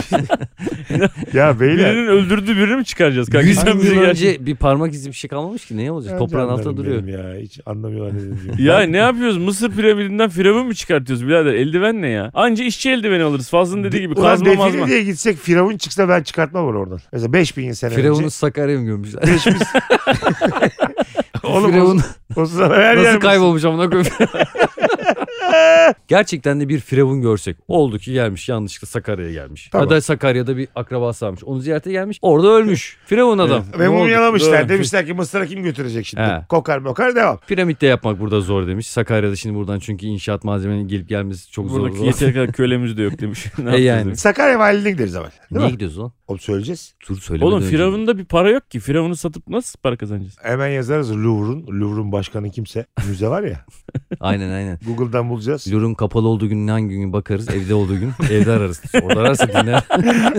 S2: ya beyler.
S3: Birinin öldürdüğü birini mi çıkaracağız kanka?
S4: 100
S3: Sen
S4: bin
S3: bize
S4: yıl
S3: gel-
S4: önce bir parmak izi bir şey kalmamış ki. Neye olacak?
S2: Ya
S4: Toprağın
S2: canlarım
S4: altında duruyor.
S2: benim Ya hiç anlamıyorlar ne
S4: [LAUGHS]
S2: dediğimi.
S3: Ya ne yapıyoruz? Mısır piramidinden firavun mu çıkartıyoruz birader? Eldiven ne ya? Anca işçi eldiveni alırız. Fazlın dediği gibi
S2: Ulan
S3: kazma
S2: defile
S3: mazma.
S2: diye gitsek Firavun çıksa ben çıkartmam onu oradan. Mesela 5000 sene
S4: Firavun'u
S2: önce.
S4: Sakarya'ya mı gömmüşler? [LAUGHS]
S2: Oğlum
S4: Firavun
S2: o, o zaman her yer
S4: [LAUGHS] nasıl kaybolmuş
S2: [LAUGHS]
S4: amına koyayım? Gerçekten de bir firavun görsek. Oldu ki gelmiş yanlışlıkla Sakarya'ya gelmiş.
S2: Tamam.
S4: Ya da Sakarya'da bir akrabası varmış. Onu ziyarete gelmiş. Orada ölmüş. Firavun adam.
S2: Ve
S4: Ne oldu?
S2: mumyalamışlar.
S3: Doğru.
S2: Demişler ki Mısır'a kim götürecek şimdi?
S4: He.
S2: Kokar mokar devam.
S4: Piramitte yapmak burada zor demiş. Sakarya'da şimdi buradan çünkü inşaat malzemenin gelip gelmesi çok zor. [LAUGHS]
S3: Buradaki yeteri kadar kölemiz de yok [LAUGHS] demiş. Ne
S4: E
S3: yapacağız
S4: yani.
S3: demiş.
S2: Sakarya valiliğine gideriz ama. Değil
S4: Niye
S2: mi?
S4: gidiyoruz lan?
S2: Oğlum söyleyeceğiz.
S4: Dur söyle.
S3: Oğlum Firavun'da bir para yok ki. Firavun'u satıp nasıl para kazanacağız?
S2: Hemen yazarız Louvre'un. Louvre'un başkanı kimse. Müze var
S4: [LAUGHS]
S2: ya.
S4: Aynen aynen.
S2: Google'dan bulacağız.
S4: Lurun kapalı olduğu gün hangi gün bakarız? Evde olduğu
S2: [LAUGHS]
S4: gün evde ararız. Orada ararsa dinler.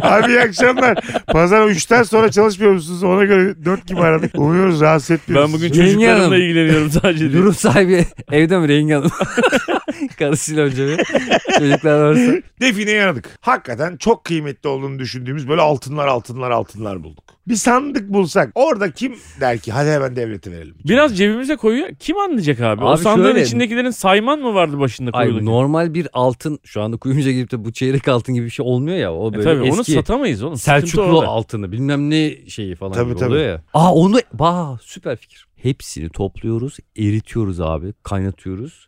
S2: Abi iyi akşamlar. Pazar 3'ten sonra çalışmıyor musunuz? Ona göre 4 gibi aradık.
S4: [LAUGHS]
S2: Umuyoruz rahatsız etmiyoruz.
S3: Ben bugün
S4: Yenge
S3: çocuklarımla
S4: hanım.
S3: ilgileniyorum [LAUGHS] sadece. diyor.
S4: Lurun sahibi [LAUGHS] evde mi Rengi Hanım? [LAUGHS] Karısıyla önce bir. Çocuklar varsa.
S2: Defineye aradık. Hakikaten çok kıymetli olduğunu düşündüğümüz böyle altınlar altınlar altınlar bulduk. Bir sandık bulsak orada kim der ki hadi hemen devlete verelim.
S3: Biraz cebimize koyuyor. Kim anlayacak abi? o
S4: Abi
S3: sandığın
S4: şöyle-
S3: içindekilerin sayman mı vardı başında koyuluk?
S4: Ay normal bir altın şu anda kuyumcuya gidip de bu çeyrek altın gibi bir şey olmuyor ya. O
S3: E
S4: böyle
S3: tabii onu
S4: eski
S3: satamayız oğlum. Sıkıntı
S4: Selçuklu
S3: orada.
S4: altını bilmem ne şeyi falan
S2: Tabii,
S4: gibi
S2: tabii.
S4: oluyor ya. Aa onu bah süper fikir. Hepsini topluyoruz, eritiyoruz abi, kaynatıyoruz.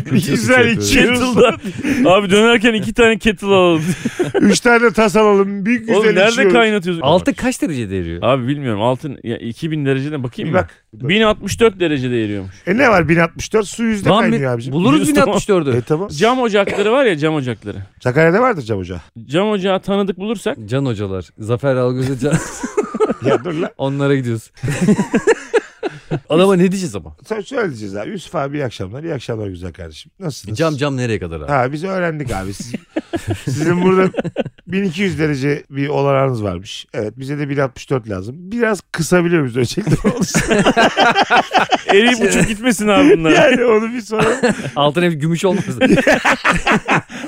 S3: [LAUGHS]
S4: külçe
S2: [LAUGHS]
S4: suçu
S2: Güzel
S4: yapıyoruz.
S3: şey
S2: içi.
S3: Kettle'da. Abi dönerken iki tane kettle alalım.
S2: [LAUGHS] Üç tane tas alalım. Bir [LAUGHS] güzel
S3: Oğlum nerede
S2: içiyoruz.
S3: kaynatıyorsun?
S4: Altı kaç derecede eriyor?
S3: Abi bilmiyorum altın ya 2000 derecede bakayım
S2: Bir
S3: mı?
S2: bak.
S3: 1064 derecede eriyormuş.
S2: E ne var 1064? Su yüzde
S4: Lan bir-
S2: kaynıyor abicim.
S4: buluruz
S3: Biliyoruz, tamam.
S4: 1064'ü.
S2: E tamam.
S3: Cam ocakları var ya cam ocakları.
S2: Sakarya'da vardır cam ocağı.
S3: Cam ocağı tanıdık bulursak
S4: Can hocalar, Zafer
S2: [LAUGHS]
S4: Algöz'e Can
S2: [LAUGHS] Ya dur lan.
S4: onlara gidiyoruz. [LAUGHS] Adama ne diyeceğiz ama?
S2: Sen şöyle diyeceğiz abi. Yusuf abi iyi akşamlar. İyi akşamlar güzel kardeşim. Nasılsınız?
S4: Cam cam nereye kadar [LAUGHS] abi?
S2: Ha biz öğrendik abi. Siz- sizin burada 1200 derece bir olanağınız varmış. Evet bize de 1064 lazım. Biraz kısabiliyor muyuz ölçekte olursa?
S3: eriyip uçup gitmesin abi bunlar.
S2: yani onu bir soralım.
S4: Altına bir gümüş olmaz.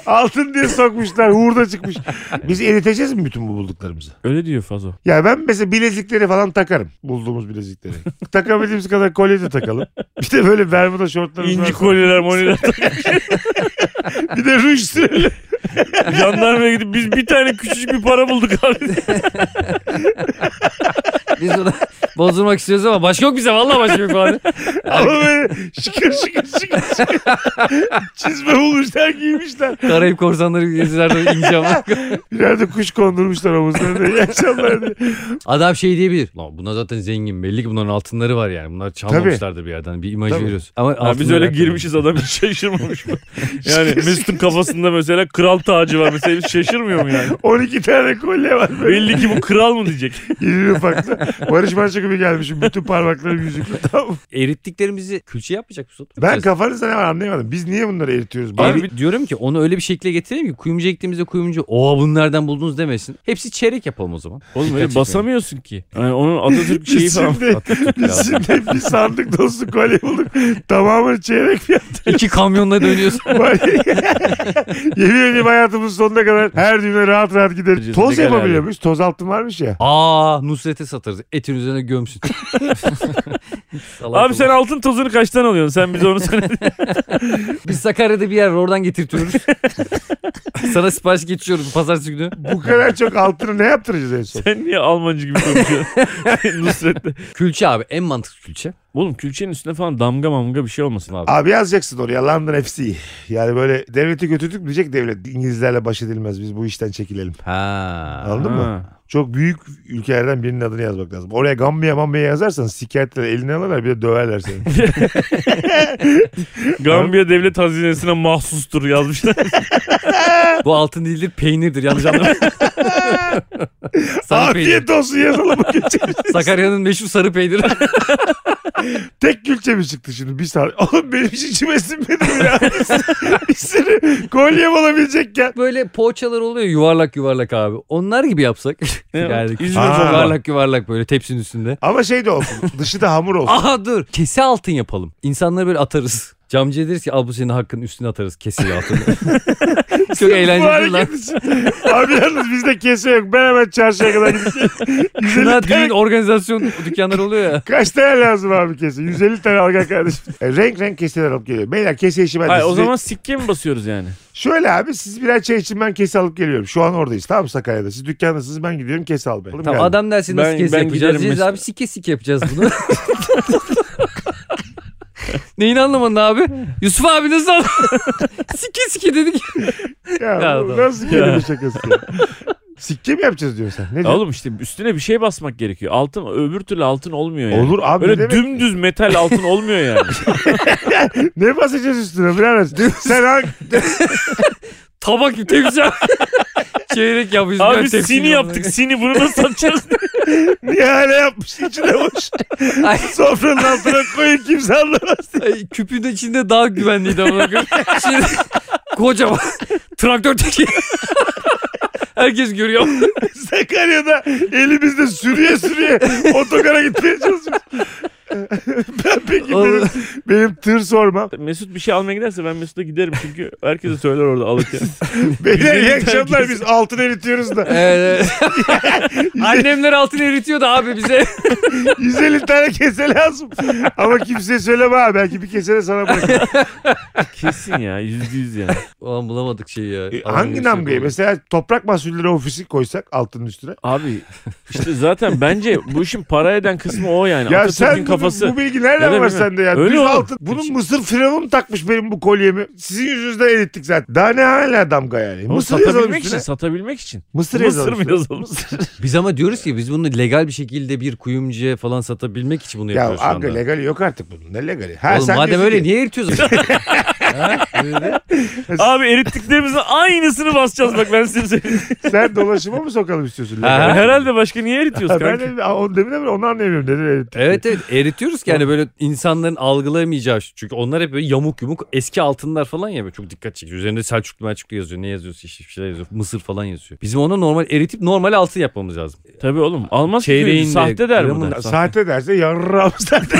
S2: Altın diye sokmuşlar. Hurda çıkmış. [LAUGHS] Biz eriteceğiz mi bütün bu bulduklarımızı?
S3: Öyle diyor Fazo.
S2: Ya ben mesela bilezikleri falan takarım. Bulduğumuz bilezikleri. Takabildiğimiz kadar kolye de takalım. Bir de böyle bermuda şortlarımız
S3: İnci
S2: var. [LAUGHS]
S3: kolyeler moniler.
S2: Bir de ruj [LAUGHS] sürelim.
S3: Jandarmaya gidip biz bir tane küçücük bir para bulduk abi.
S4: Biz bunu [LAUGHS] bozdurmak istiyoruz ama başka yok bize. Vallahi başka yok
S3: [LAUGHS]
S4: abi.
S2: Ama böyle şıkır şıkır şıkır [LAUGHS] şıkır. Çizme bulmuşlar giymişler.
S4: Karayip korsanları gezilerde ince ama.
S3: [LAUGHS]
S2: Birer de kuş kondurmuşlar omuzlarına. İyi akşamlar diye.
S4: Adam şey diyebilir. Lan bunlar zaten zengin. Belli ki bunların altınları var yani. Bunlar çalmamışlardır bir yerden. Bir imaj
S2: Tabii.
S4: veriyoruz. Ama
S3: Abi biz
S4: altınları
S3: öyle
S4: var.
S3: girmişiz adam hiç
S2: [LAUGHS]
S3: şaşırmamış mı? Yani Mesut'un kafasında mesela kral tacı var mesela hiç şaşırmıyor mu yani?
S2: 12 tane kolye var böyle.
S3: Belli ki bu kral mı diyecek.
S2: İri ufakta. Barış Manço gibi gelmişim. Bütün parmaklarım yüzükle. Tamam.
S4: Erittiklerimizi külçe yapmayacak mısın?
S2: Ben kafanızda ne var anlayamadım. Biz niye bunları eritiyoruz?
S4: Abi
S2: Abi,
S4: diyorum ki onu öyle bir şekilde getireyim ki kuyumcu ektiğimizde kuyumcu oha bunu nereden buldunuz demesin. Hepsi çeyrek yapalım
S3: [LAUGHS]
S4: o zaman.
S3: Oğlum
S4: öyle
S3: öyle basamıyorsun ki. Yani onun Atatürk şeyi
S2: biz
S3: Şey falan.
S2: şimdi, biz şimdi bir sandık dolusu kolye bulduk. Tamamını çeyrek fiyat.
S4: İki kamyonla dönüyorsun.
S2: [LAUGHS] Yemin ediyorum hayatımızın sonuna kadar her düğüne rahat rahat gideriz.
S3: Ucuz
S2: Toz
S3: legal
S2: yapabiliyor muyuz? Toz altın varmış ya.
S4: Aa Nusret'e satarız. Etin
S3: [LAUGHS]
S4: üzerine gömsün. [LAUGHS] Salak
S3: Abi sen
S4: olur.
S3: altın tozunu kaçtan alıyorsun? Sen bize onu söyle.
S4: Biz Sakarya'da bir yer var,
S2: [LAUGHS]
S4: oradan getirtiyoruz. Sana sipariş geçiyoruz pazartesi günü.
S2: Bu kadar çok altını ne yaptıracağız en
S3: [LAUGHS]
S2: son?
S3: Sen niye Almancı gibi [LAUGHS] konuşuyorsun? Nusret'le.
S4: Külçe abi en mantıklı külçe.
S3: Oğlum külçenin üstüne falan damga mamga bir şey olmasın abi.
S2: Abi yazacaksın oraya London FC. Yani böyle devleti götürdük diyecek devlet. İngilizlerle baş edilmez biz bu işten çekilelim.
S4: Ha.
S2: Anladın mı?
S3: Ha.
S2: Çok büyük ülkelerden birinin adını yazmak lazım. Oraya Gambia Mambia yazarsan sikayetler eline alırlar bir de döverler seni.
S3: Gambiya devlet hazinesine mahsustur yazmışlar.
S4: Bu altın değildir peynirdir
S2: [LAUGHS]
S4: yanlış anlama. sarı peynir.
S2: Afiyet olsun yazalım bu gece.
S4: Sakarya'nın meşhur sarı peyniri. [LAUGHS]
S2: Tek külçe mi çıktı şimdi bir saat? [LAUGHS] Oğlum benim hiç içime sinmedi mi ya? [LAUGHS] bir sürü kolyem olabilecekken.
S4: Böyle poğaçalar oluyor yuvarlak yuvarlak abi. Onlar gibi yapsak. [LAUGHS] yani
S3: İzmir
S4: küçük
S2: falan.
S4: yuvarlak yuvarlak böyle tepsinin üstünde.
S2: Ama şey de olsun. Dışı da hamur olsun.
S4: Aha dur kese altın yapalım. İnsanları böyle atarız. Camcıya deriz ki al bu senin hakkın üstüne atarız keseyi
S2: [LAUGHS]
S4: altını. Çok
S2: Bu
S4: eğlenceli lan.
S2: hareket için. Abi yalnız bizde kese yok. Ben hemen çarşıya kadar gideceğim. 150
S4: Kına
S2: tane-
S4: düğün organizasyon dükkanları oluyor ya.
S2: Kaç tane lazım abi kese? 150 tane al gel kardeşim. E, renk renk keseler alıp geliyor. Beyler kese işi ben de
S3: Hayır o
S2: size-
S3: zaman sikke mi basıyoruz yani?
S2: Şöyle abi siz birer çay için ben kese alıp geliyorum. Şu an oradayız tamam mı Sakarya'da. Siz dükkandasınız ben gidiyorum kese almaya. Oğlum
S4: Tamam
S2: geldim.
S4: adam dersin
S3: Ben-
S4: nasıl kes
S3: ben
S4: yapacağız.
S3: giderim
S4: Diyeceğiz
S3: mesela.
S4: abi sike sike yapacağız bunu. [LAUGHS] Neyini anlamadın abi? Yusuf abi nasıl anladın? [LAUGHS] sike sike dedik.
S2: Ya,
S4: Ya
S2: bu
S4: adam.
S2: nasıl kelime şakası ya? Sikke mi yapacağız diyorsun sen? Ne
S3: Ya
S2: diyorsun?
S3: Oğlum işte üstüne bir şey basmak gerekiyor. Altın öbür türlü altın olmuyor yani.
S2: Olur abi ne
S3: Öyle
S2: demek?
S3: dümdüz metal altın olmuyor yani.
S2: Ne basacağız üstüne birader? sen hangi...
S4: Tabak gibi tepsi. [LAUGHS] Çeyrek yapıyoruz.
S3: Abi sini yaptık sini bunu nasıl satacağız? [LAUGHS]
S2: Niye hala yapmış içine boş?
S4: [LAUGHS] Ay.
S2: Sofranın altına koyun kimse anlamaz.
S4: Ay, küpün de içinde daha güvenliydi ama. Şimdi kocaman [LAUGHS] traktör teki. [LAUGHS] Herkes görüyor.
S2: Sakarya'da elimizde sürüye sürüye otogara gitmeye çalışıyoruz. [LAUGHS] ben peki benim,
S4: Oğlum.
S2: benim tır
S4: [LAUGHS]
S2: sormam.
S3: Mesut bir şey almaya giderse ben Mesut'a giderim çünkü herkese söyler orada alırken.
S2: Beyler iyi
S3: Bizim
S2: akşamlar
S3: herkes-
S2: biz altın eritiyoruz da.
S4: Ee, [LAUGHS] annemler altın eritiyordu abi bize.
S2: 150 tane kese lazım. Ama kimseye söyleme ha belki bir kese de sana bırakırım.
S4: [LAUGHS]
S3: Kesin ya yüzde yüz yani.
S4: Ulan bulamadık şeyi ya.
S2: E, Hangi namgayı? Mesela toprak mahsulleri ofisi koysak altının üstüne.
S3: Abi işte zaten bence bu işin para eden kısmı o yani.
S2: Ya
S3: Atatürk'ün
S2: sen bunu
S3: kafası.
S2: Bu bilgi nereden
S3: Öyle
S2: var
S3: mi?
S2: sende ya?
S3: Öyle
S2: Düz
S3: oğlum.
S2: altın. Bunun mısır firavun mu takmış benim bu kolyemi. Sizin yüzünüzden erittik zaten. Daha ne hala damga yani.
S3: Oğlum
S2: Mısır yazalım
S3: satabilmek için,
S2: üstüne.
S3: satabilmek için.
S2: Mısır
S3: Mısır
S2: yazalım
S3: mı
S2: üstüne.
S3: yazalım? [LAUGHS]
S4: Biz ama diyoruz ki biz bunu legal bir şekilde bir kuyumcuya falan satabilmek için bunu
S2: Ya
S4: yapıyoruz şu
S2: aga
S4: anda.
S2: legali yok artık bunun. Ne legali? Ha,
S4: Oğlum
S2: sen
S4: madem
S2: diyorsun
S4: öyle
S2: ki-
S4: niye eritiyorsun?
S2: [LAUGHS]
S4: Ha? Öyle.
S3: Abi erittiklerimizin aynısını basacağız bak ben size söyleyeyim.
S2: [LAUGHS] Sen dolaşıma mı sokalım istiyorsun?
S4: Ha,
S2: legali?
S3: Herhalde başka niye eritiyoruz
S2: Ha, ben
S3: kanka?
S2: de, onu demin ama onu anlayamıyorum. Neden erittik?
S4: evet evet eritiyoruz ki yani böyle insanların algılayamayacağı şu. Çünkü onlar hep böyle yamuk yumuk eski altınlar falan ya böyle çok dikkat çekiyor. Üzerinde Selçuklu Melçuklu yazıyor ne yazıyorsa işte bir şeyler yazıyor. Mısır falan yazıyor. Bizim ona normal eritip normal altın yapmamız lazım.
S3: Tabii oğlum almaz ki
S4: Çeyreğin de,
S3: sahte der bu
S2: [LAUGHS]
S4: gramın
S3: da.
S4: da.
S2: Sahte derse yarram sahte.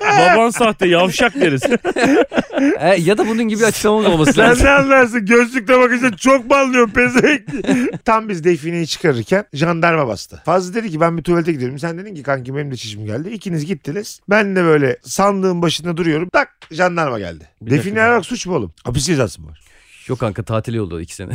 S3: Baban sahte yavşak deriz.
S4: E, ya da bunun gibi
S2: [LAUGHS]
S4: açıklamamız olması
S2: Sen
S4: lazım.
S2: ne anlarsın? Gözlükle bakınca çok banlıyorum pezevenk. [LAUGHS] Tam biz defineyi çıkarırken jandarma bastı. Fazlı dedi ki ben bir tuvalete gidiyorum. Sen dedin ki kanki benim de çişim geldi. İkiniz gittiniz. Ben de böyle sandığın başında duruyorum. Tak jandarma geldi.
S4: Bir
S2: Define
S4: dakika.
S2: ararak suç mu oğlum? Hapis cezası mı var?
S4: Yok kanka tatile yolladı iki sene.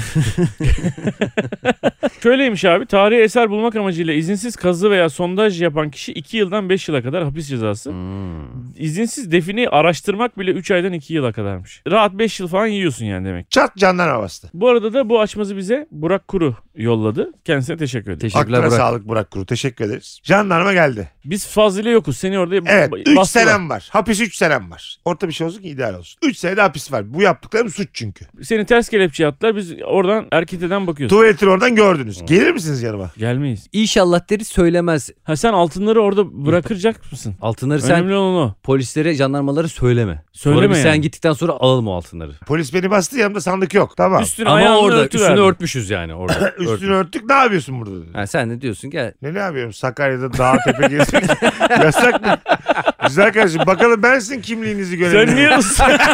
S4: [LAUGHS]
S3: Şöyleymiş abi tarihi eser bulmak amacıyla izinsiz kazı veya sondaj yapan kişi 2 yıldan 5 yıla kadar hapis cezası.
S4: Hmm.
S3: İzinsiz defineyi araştırmak bile 3 aydan 2 yıla kadarmış. Rahat 5 yıl falan yiyorsun yani demek.
S2: Çat jandarma bastı.
S3: Bu arada da bu açmazı bize Burak Kuru yolladı. Kendisine teşekkür ederim.
S4: Teşekkürler
S2: Aklına
S4: Burak.
S2: sağlık Burak Kuru. Teşekkür ederiz. Jandarma geldi.
S3: Biz fazlıyla yokuz. Seni orada
S2: Evet.
S3: ba-
S2: 3
S3: bastılar.
S2: senem var. Hapis 3 senem var. Orta bir şey olsun ki ideal olsun. 3 senede hapis var. Bu yaptıklarım suç çünkü.
S3: Seni ters kelepçeye attılar. Biz oradan erketeden bakıyoruz.
S2: Tuvaletini oradan gördünüz. Gelir misiniz yanıma?
S3: Gelmeyiz.
S4: İnşallah deri söylemez.
S3: Ha sen altınları orada bırakacak mısın?
S4: Altınları sen
S3: Önemli olan o.
S4: polislere, jandarmalara söyleme.
S3: Söyleme
S4: Sonra biz sen
S3: yani.
S4: gittikten sonra alalım o altınları.
S2: Polis beni bastı yanımda sandık yok. Tamam.
S3: Üstünü
S4: Ama
S3: ayağını
S4: orada
S3: örtüverdim.
S4: üstünü örtmüşüz
S2: [COUGHS]
S4: yani orada.
S2: Üstünü
S4: Örtmüş.
S2: örttük ne yapıyorsun burada dedi.
S4: Ha, sen de diyorsun ki
S2: Ne ne yapıyorum Sakarya'da dağ tepe
S3: [LAUGHS]
S2: gezmek yasak mı? Güzel kardeşim bakalım ben sizin kimliğinizi
S3: Sen
S2: görebilirim.
S3: niye ıslak-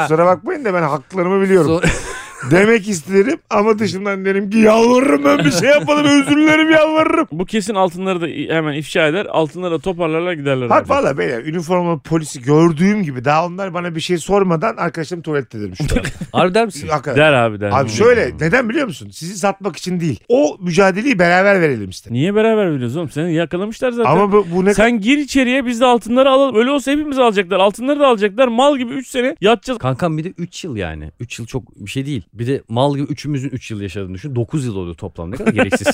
S2: Kusura bakmayın da ben haklarımı biliyorum.
S4: Zor-
S2: [LAUGHS] Demek isterim ama dışımdan derim ki yalvarırım ben bir şey yapmadım özür dilerim yalvarırım.
S3: [LAUGHS] Bu kesin altınları da hemen ifşa eder. Altınları da toparlarlar giderler.
S2: Bak
S3: abi.
S2: valla beyler üniformalı polisi gördüğüm gibi daha onlar bana bir şey sormadan arkadaşlarım tuvalette dedim şu an.
S4: [LAUGHS] harbi der misin?
S2: Hakikaten.
S3: Der abi der.
S2: Abi şöyle neden biliyor musun? Sizi satmak için değil. O mücadeleyi beraber verelim istedim.
S3: Niye beraber biliyoruz oğlum? Seni yakalamışlar zaten.
S2: Ama bu, bu ne
S3: Sen gir içeriye biz de altınları alalım. Öyle olsa hepimiz alacaklar. Altınları da alacaklar. Mal gibi 3 sene yatacağız.
S4: Kankam bir de 3 yıl yani. 3 yıl çok bir şey değil. Bir de mal gibi üçümüzün 3 yıl yaşadığını düşün. 9 yıl oluyor toplam. Ne
S2: [LAUGHS]
S4: kadar gereksiz.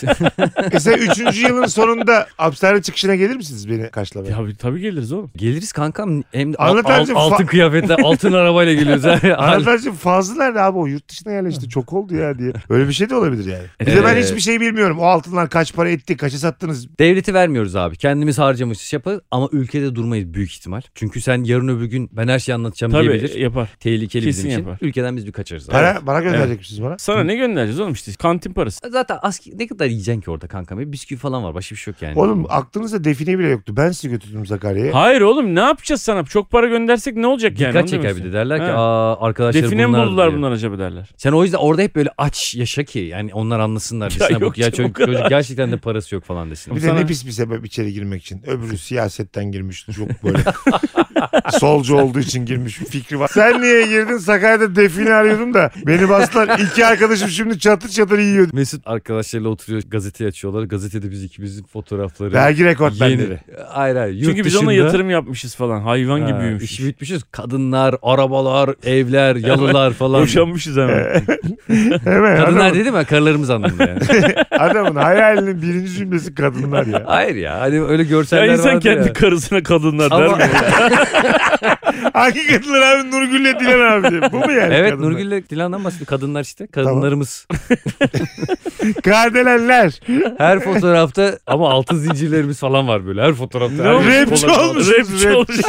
S2: E sen 3. yılın sonunda hapishane çıkışına gelir misiniz beni karşılamaya?
S3: Ya tabii geliriz oğlum.
S4: Geliriz kankam. Hem de al-
S2: Anlatarsın,
S4: al- altın
S2: fa-
S4: kıyafetle,
S2: [LAUGHS]
S4: altın arabayla geliyoruz. Hal-
S2: Arkadaşım fazla nerede abi o yurt dışına yerleşti çok oldu ya diye. Öyle bir şey de olabilir yani. Bir de
S4: Evet.
S2: ben hiçbir şey bilmiyorum. O altınlar kaç para etti, kaça sattınız.
S4: Devleti vermiyoruz abi. Kendimiz harcamışız şey yaparız ama ülkede durmayız büyük ihtimal. Çünkü sen yarın öbür gün ben her şeyi anlatacağım
S3: Tabii
S4: diyebilir.
S3: yapar.
S4: Tehlikeli
S3: Kesin
S4: bizim için.
S3: yapar.
S4: Ülkeden biz bir kaçarız. abi.
S2: Para bana gönderecek misiniz bana?
S3: Sana ne göndereceğiz oğlum işte kantin parası.
S4: Zaten aski ne kadar yiyeceksin ki orada kankam? Bir bisküvi falan var. Başka bir şey yok yani.
S2: Oğlum aklınızda define bile yoktu. Ben sizi götürdüm Sakarya'ya.
S3: Hayır oğlum ne yapacağız sana? Çok para göndersek ne olacak yani?
S4: E? Dikkat
S3: Onu
S4: çeker
S3: demek
S4: bir de
S3: istiyorum.
S4: derler ki
S3: Ha.
S4: aa arkadaşlar
S3: Define mi
S4: bunlar.
S3: buldular
S4: diye.
S3: bunlar acaba derler.
S4: Sen o yüzden orada hep böyle aç yaşa ki yani onlar anlasınlar.
S3: [LAUGHS] Ya
S4: Ya
S3: yok
S4: bak ya
S3: canım, o
S4: çocuk,
S3: kadar.
S4: çocuk gerçekten de parası yok falan desin.
S2: Bir de
S3: Sana-
S2: ne pis bir sebep içeri girmek için. Öbürü siyasetten girmiş. Çok böyle [LAUGHS] solcu olduğu için girmiş. Bir fikri var. Sen niye girdin? Sakarya'da define arıyordum da. Beni bastılar. İki arkadaşım şimdi çatır çatır yiyor.
S4: Mesut arkadaşlarıyla oturuyor gazeteyi açıyorlar. Gazetede biz ikimizin fotoğrafları.
S2: Vergi rekord
S4: yeni...
S2: benderi.
S4: Hayır hayır. Yurt
S3: Çünkü biz ona
S4: dışında-
S3: yatırım yapmışız falan. Hayvan gibi
S4: Ha,
S3: büyümüşüz.
S4: işi büyütmüşüz. Kadınlar, arabalar, evler, yalılar falan.
S3: Boşanmışız hemen.
S2: Hemen
S4: Kadınlar
S2: adamın-
S4: dedim ya karılarımız anlamında
S3: [LAUGHS]
S4: yani.
S2: Adamın hayalinin birinci cümlesi kadınlar
S3: [LAUGHS]
S2: ya.
S4: hayır ya hani öyle
S3: ya
S4: görseller
S3: insan
S4: vardı
S3: kendi
S4: ya.
S3: karısına kadınlar der
S4: Ama- [LAUGHS]
S3: mi?
S2: Hangi kadınlar abi Nurgül'le Dilan abi diye. Bu mu yani
S4: evet
S2: kadınlar?
S4: Nurgül'le Dilan'dan bahsediyor. Kadınlar işte. Kadınlarımız.
S2: Kardelenler.
S4: Her fotoğrafta ama altın zincirlerimiz falan var böyle. Her fotoğrafta.
S3: Ne
S4: her-
S3: olmuş?
S4: şey.
S2: Rapçi olmuş.
S3: Rapçi olmuş.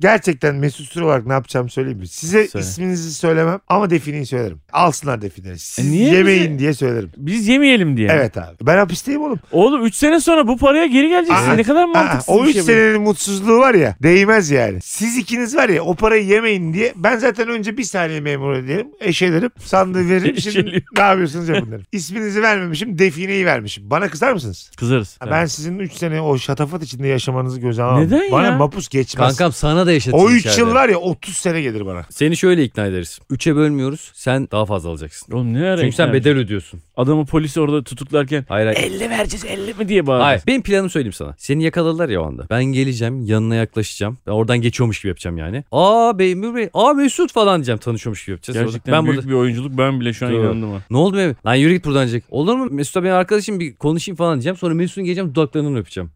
S2: Gerçekten Mesut Süre olarak ne yapacağımı söyleyeyim mi? Size
S3: Söyle.
S2: isminizi söylemem ama defineyi söylerim. Alsınlar defineyi. Siz
S3: E niye
S2: yemeyin
S3: bizi-
S2: diye söylerim.
S3: Biz yemeyelim diye.
S2: Evet abi. Ben hapisteyim oğlum.
S3: Oğlum 3 sene sonra bu paraya geri geleceksin.
S2: Aa,
S3: ne kadar
S2: Aa,
S3: mantıksız
S2: o
S3: bir
S2: üç
S3: şey bu.
S2: senenin mutsuzluğu var ya değmez yani. Siz ikiniz var ya o parayı yemeyin diye ben zaten önce bir saniye memur ederim. Eşelerim sandığı
S3: [LAUGHS]
S2: veririm. Şimdi
S3: Eşeliyor.
S2: ne yapıyorsunuz yapın derim. İsminizi vermemişim defineyi vermişim. Bana kızar mısınız?
S3: Kızarız.
S2: Ha, Ben sizin 3 sene o şatafat içinde yaşamanızı göze alamam.
S3: Neden
S2: Bana
S3: ya?
S2: mapus geçmez.
S4: Kankam sana da yaşatayım
S2: o 3
S4: içeride.
S2: yıl var ya 30 sene gelir bana.
S4: Seni şöyle ikna ederiz. Üçe bölmüyoruz. Sen daha fazla alacaksın.
S3: Oğlum ne ara
S4: Çünkü sen
S3: ikna
S4: bedel ödüyorsun.
S3: Adamı polisi orada tutuklarken
S4: Hayır hayır.
S3: 50 vereceğiz 50 mi diye bağırdı.
S4: Hayır. Benim planımı söyleyeyim sana. Seni yakaladılar ya o anda. Ben geleceğim yanına yaklaşacağım. Ben oradan geçiyormuş gibi yapacağım yani. Aa bey Memur bey. Aa Mesut falan diyeceğim. Tanışıyormuş gibi yapacağız.
S3: Gerçekten
S4: ben
S3: büyük
S4: burada...
S3: bir oyunculuk ben bile şu an
S4: Doğru.
S3: inandım ha.
S4: Ne oldu Mehmet? Lan yürü git buradan diyecek. Olur mu? Mesut abi benim arkadaşım bir konuşayım falan diyeceğim. Sonra Mesut'un geleceğim dudaklarından öpeceğim.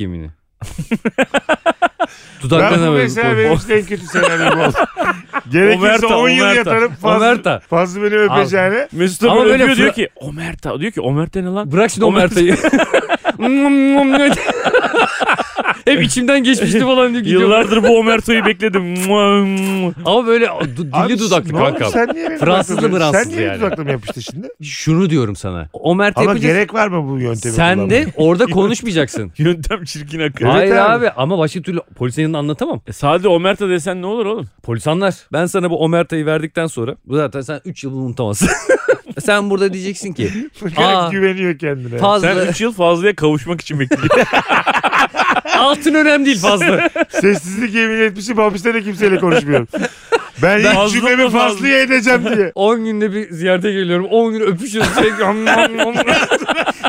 S2: [LAUGHS]
S4: yemini.
S2: Ben
S4: dudaklarından
S2: bu
S4: öpeceğim.
S2: mesela benim için en kötü senaryom oldu.
S3: [LAUGHS]
S2: Gerekirse
S3: Omerta,
S2: 10 yıl
S3: Omerta.
S2: yatarım fazla,
S4: Omerta.
S2: fazla beni öpeceğine.
S3: Mesut
S4: Ama
S3: Ama
S4: böyle
S3: öpüyor diyor
S4: fıra-
S3: ki Omerta. Diyor ki Omerta ne lan?
S4: [LAUGHS] Bırak şimdi o
S3: Omerta.
S4: Merta'yı. [LAUGHS] Hep içimden geçmişti falan diyor. gidiyor.
S3: Yıllardır bu Omerta'yı bekledim.
S4: Ama böyle du-
S2: Abi,
S4: dili dudaklı
S2: ne oldu?
S4: kanka.
S2: Sen niye benim
S4: Fransızlı
S2: dudaklarıma-
S4: Fransızlı
S2: Sen niye
S4: yani.
S2: benim dudaklarıma yapıştı
S3: [LAUGHS]
S2: şimdi?
S4: Şunu diyorum sana. O Mert
S2: Ama
S4: yapacak.
S2: gerek var mı bu yöntemi
S3: [LAUGHS]
S4: Sen
S2: kullanmaya?
S4: de
S2: [LAUGHS]
S4: orada konuşmayacaksın.
S3: Yöntem çirkin akıl.
S4: Hayır
S2: abi.
S4: abi. ama başka türlü polisin yanında anlatamam.
S3: E, Sade Omerta desen ne olur oğlum?
S4: Polis anlar. Ben sana bu Omerta'yı verdikten sonra bu zaten sen 3 yıl bunu [LAUGHS] unutamazsın. sen burada diyeceksin ki Aa.
S2: güveniyor kendine.
S3: Sen
S4: fazla
S3: 3 yıl fazlaya kavuşmak için bekliyorsun.
S4: [LAUGHS] altın önemli değil [LAUGHS] fazla.
S2: Sessizlik yemin etmişim hapiste de kimseyle
S3: [LAUGHS]
S2: konuşmuyorum. Ben,
S3: Ben
S2: ilk
S3: fazla
S2: cümlemi
S3: mı fazla?
S2: fazlaya edeceğim
S3: [LAUGHS]
S2: diye.
S4: 10 günde bir ziyarete geliyorum. 10 gün öpüşüyoruz. [LAUGHS] Sürekli om, om, om.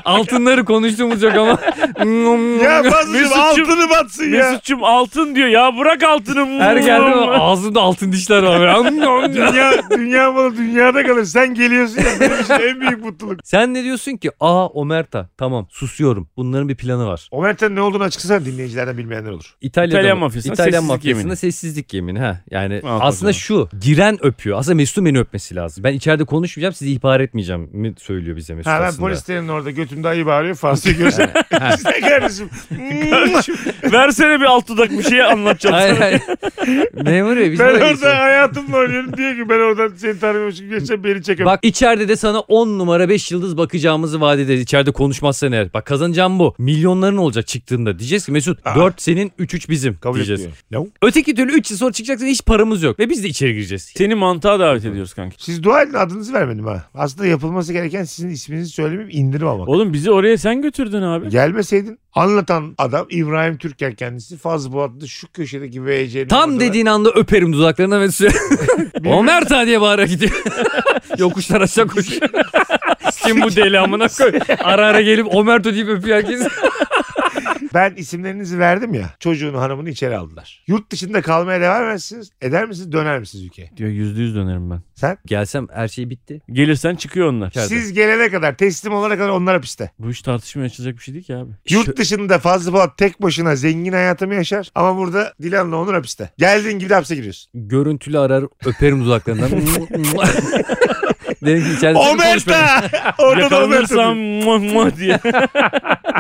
S4: Altınları konuştuğumuz yok [LAUGHS] ama. Om, om, om. [LAUGHS]
S2: Ya fazlacığım
S3: Mesut'cum-
S2: altını batsın ya.
S3: Mesut'cum altın diyor ya bırak altını.
S4: Her geldi ağzında altın dişler var. [LAUGHS] Böyle. Om, om, om.
S2: Dünya, dünya malı dünyada kalır. Sen geliyorsun ya benim için en büyük mutluluk.
S4: Sen ne diyorsun ki? Aa Omerta tamam susuyorum. Bunların bir planı var.
S2: Omerta'nın ne olduğunu açıklasana dinleyicilerden bilmeyenler olur.
S4: İtalya'da
S3: İtalyan
S4: mı?
S3: mafyasına
S4: İtalyan
S3: sessizlik
S4: mafyasına
S3: yemini.
S4: sessizlik yemini. Ha. Yani
S3: Al
S4: aslında
S3: bakalım.
S4: şu giren öpüyor. Aslında Mesut'un beni öpmesi lazım. Ben içeride konuşmayacağım sizi ihbar etmeyeceğim mi söylüyor bize Mesut
S2: Ha ben
S4: aslında.
S2: polislerin orada götümde ayı bağırıyor. Fazla
S4: [LAUGHS]
S2: görsen.
S3: [LAUGHS]
S2: Size kardeşim.
S4: Hmm.
S3: Versene bir alt dudak bir şey anlatacağım.
S4: Hayır hayır. Memur bey biz
S2: ben
S4: böyle
S2: orada
S4: geçiyoruz.
S2: hayatımla oynuyorum. Diyor ki ben oradan seni tanımıyormuş gibi geçeceğim beni çekem.
S4: Bak içeride de sana 10 numara 5 yıldız bakacağımızı vaat ederiz. İçeride konuşmazsan eğer. Bak kazanacağım bu. Milyonların olacak çıktığında. Diyeceğiz ki Mesut 4 senin 3 3 bizim
S2: Kabul
S4: diyeceğiz.
S2: etmiyor. No.
S4: Öteki türlü 3 yıl sonra çıkacaksın hiç paramız yok. Ve biz de içeri gireceğiz.
S3: Seni mantığa davet ediyoruz kanki.
S2: Siz dua edin adınızı vermedim ha. Aslında yapılması gereken sizin isminizi söylemeyip indirim almak.
S3: Oğlum bizi oraya sen götürdün abi.
S2: Gelmeseydin anlatan adam İbrahim Türker kendisi Fazlı Polat'ta şu köşedeki VC'nin.
S4: Tam
S2: dediğin
S4: dediğin anda öperim dudaklarına ve [LAUGHS] süre. Omerta diye bağıra [LAUGHS] gidiyor. Yokuşlar [LAUGHS] aşağı koşuyor. Kim bu deli amına koy. Ara ara gelip Omerto deyip öpüyor herkes.
S2: Ben isimlerinizi verdim ya çocuğunu hanımını içeri aldılar. Yurt dışında kalmaya devam edersiniz. Eder misiniz döner misiniz ülkeye?
S3: Diyor yüzde yüz dönerim ben.
S2: Sen?
S4: [LAUGHS] Gelsem her şey bitti.
S3: Gelirsen çıkıyor onlar.
S4: İçeride.
S2: Siz gelene kadar teslim olana kadar onlar hapiste.
S3: Bu iş tartışmaya açılacak bir şey değil ki abi.
S2: Yurt dışında Fazlı Polat tek başına zengin hayatımı yaşar. Ama burada Dilan'la Onur hapiste. Geldiğin gibi de hapse giriyorsun.
S4: Görüntülü arar öperim [LAUGHS] dudaklarından. Dedim ki içeride seni konuşmayalım.
S2: Omerta! [LAUGHS] Orada da Omerta.
S3: Yakalanırsam
S2: diyor.
S3: muah muah diye.